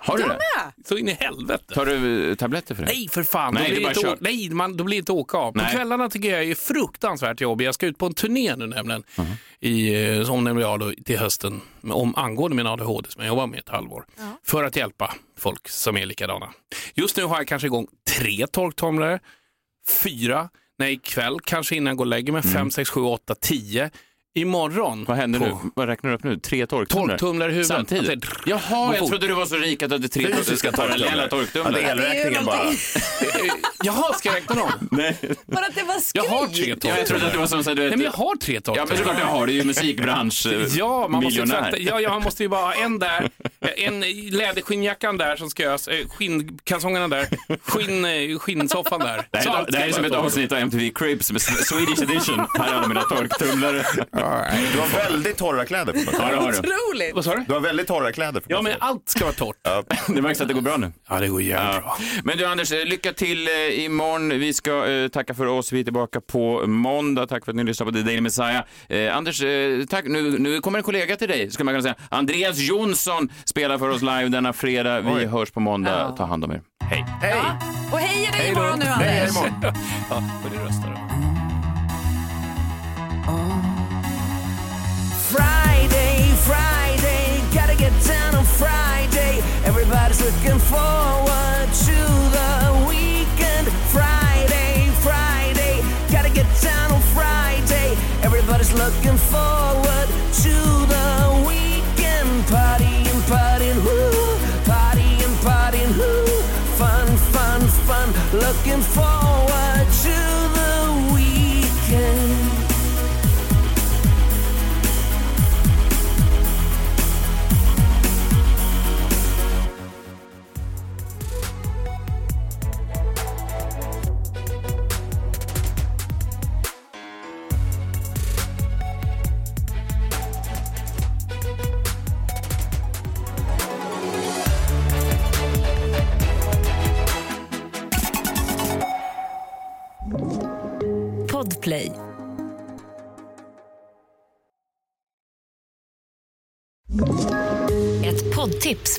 [SPEAKER 2] Har du
[SPEAKER 10] jag
[SPEAKER 2] det?
[SPEAKER 10] med! Så in i helvete.
[SPEAKER 2] Tar du eh, tabletter för det?
[SPEAKER 10] Nej, för fan.
[SPEAKER 2] Nej,
[SPEAKER 10] då
[SPEAKER 2] det är
[SPEAKER 10] blir
[SPEAKER 2] bara
[SPEAKER 10] inte å-
[SPEAKER 2] kört.
[SPEAKER 10] Nej, man, då blir det inte åka av. På
[SPEAKER 2] Nej.
[SPEAKER 10] kvällarna tycker jag är fruktansvärt jobbigt. Jag ska ut på en turné nu nämligen, i, eh, som nämner jag då, till hösten, om angående min ADHD som jag jobbar med ett halvår, för att hjälpa folk som är likadana. Just nu har jag kanske igång tre torktumlare, fyra, nej ikväll kanske innan jag går och lägger mig, fem, sex, sju, åtta, tio. Imorgon.
[SPEAKER 2] Mm. Vad händer
[SPEAKER 10] på-
[SPEAKER 2] nu? Vad räknar du upp nu? Tre torktumlare?
[SPEAKER 10] Torktumlare i huvudet.
[SPEAKER 2] Samtidigt?
[SPEAKER 10] Alltså,
[SPEAKER 2] Jaha, jag
[SPEAKER 10] fort.
[SPEAKER 2] trodde du var så rik att du hade tre
[SPEAKER 4] Fysiska
[SPEAKER 2] parallella
[SPEAKER 4] torktumlare.
[SPEAKER 2] torktumlare.
[SPEAKER 4] Ja, det är elräkningen bara.
[SPEAKER 10] [laughs] Jaha, ska jag räkna dem?
[SPEAKER 2] Nej.
[SPEAKER 3] Bara att det var skoj.
[SPEAKER 10] Jag har tre
[SPEAKER 2] Ja, jag trodde att det var som så här, du vet-
[SPEAKER 10] Nej, men jag har tre torktumlare.
[SPEAKER 2] Ja, men det är klart jag har. Du är ju [laughs] musikbransch, eh,
[SPEAKER 10] ja, man måste
[SPEAKER 2] miljonär.
[SPEAKER 10] tvätta, ja, jag måste ju bara ha en där, en i läderskinnjackan där som ska göras, eh, skinnkalsongerna där, skinn, eh, skinnsoffan där.
[SPEAKER 2] Det
[SPEAKER 10] Så
[SPEAKER 2] här,
[SPEAKER 10] allt
[SPEAKER 2] är- det här är
[SPEAKER 10] ska
[SPEAKER 2] som ett
[SPEAKER 10] vara torrt.
[SPEAKER 2] avsnitt av MTV Cribs med Swedish Edition. Här är alla mina torktumlare.
[SPEAKER 4] Du har väldigt torra kläder på mig.
[SPEAKER 2] Ja, det har du.
[SPEAKER 3] Otroligt.
[SPEAKER 10] Vad sa du?
[SPEAKER 4] Du har väldigt torra kläder på
[SPEAKER 10] Ja, men allt ska vara torrt.
[SPEAKER 2] Det märks att det går bra nu.
[SPEAKER 10] Ja, det går jävligt bra.
[SPEAKER 2] Men du Anders, eh, lycka till eh, imorgon. Vi ska eh, tacka för oss. Vi är tillbaka på måndag. Tack för att ni lyssnade på The Daily Messiah. Eh, Anders, eh, tack. Nu, nu kommer en kollega till dig, skulle man kunna säga. Andreas Jonsson spelar för oss live denna fredag. Vi hörs på måndag. Ta hand om er. Hej.
[SPEAKER 3] Och heja dig imorgon nu Anders.
[SPEAKER 10] Ja, och det röstar då.
[SPEAKER 5] Friday, Friday, gotta get down on Friday. Everybody's looking forward to the weekend. Friday, Friday, gotta get down on Friday. Everybody's looking forward to the weekend. Partying, partying, whoo, partying, partying, whoo. Fun, fun, fun, looking forward to the weekend.
[SPEAKER 7] Podplay. Ett poddtips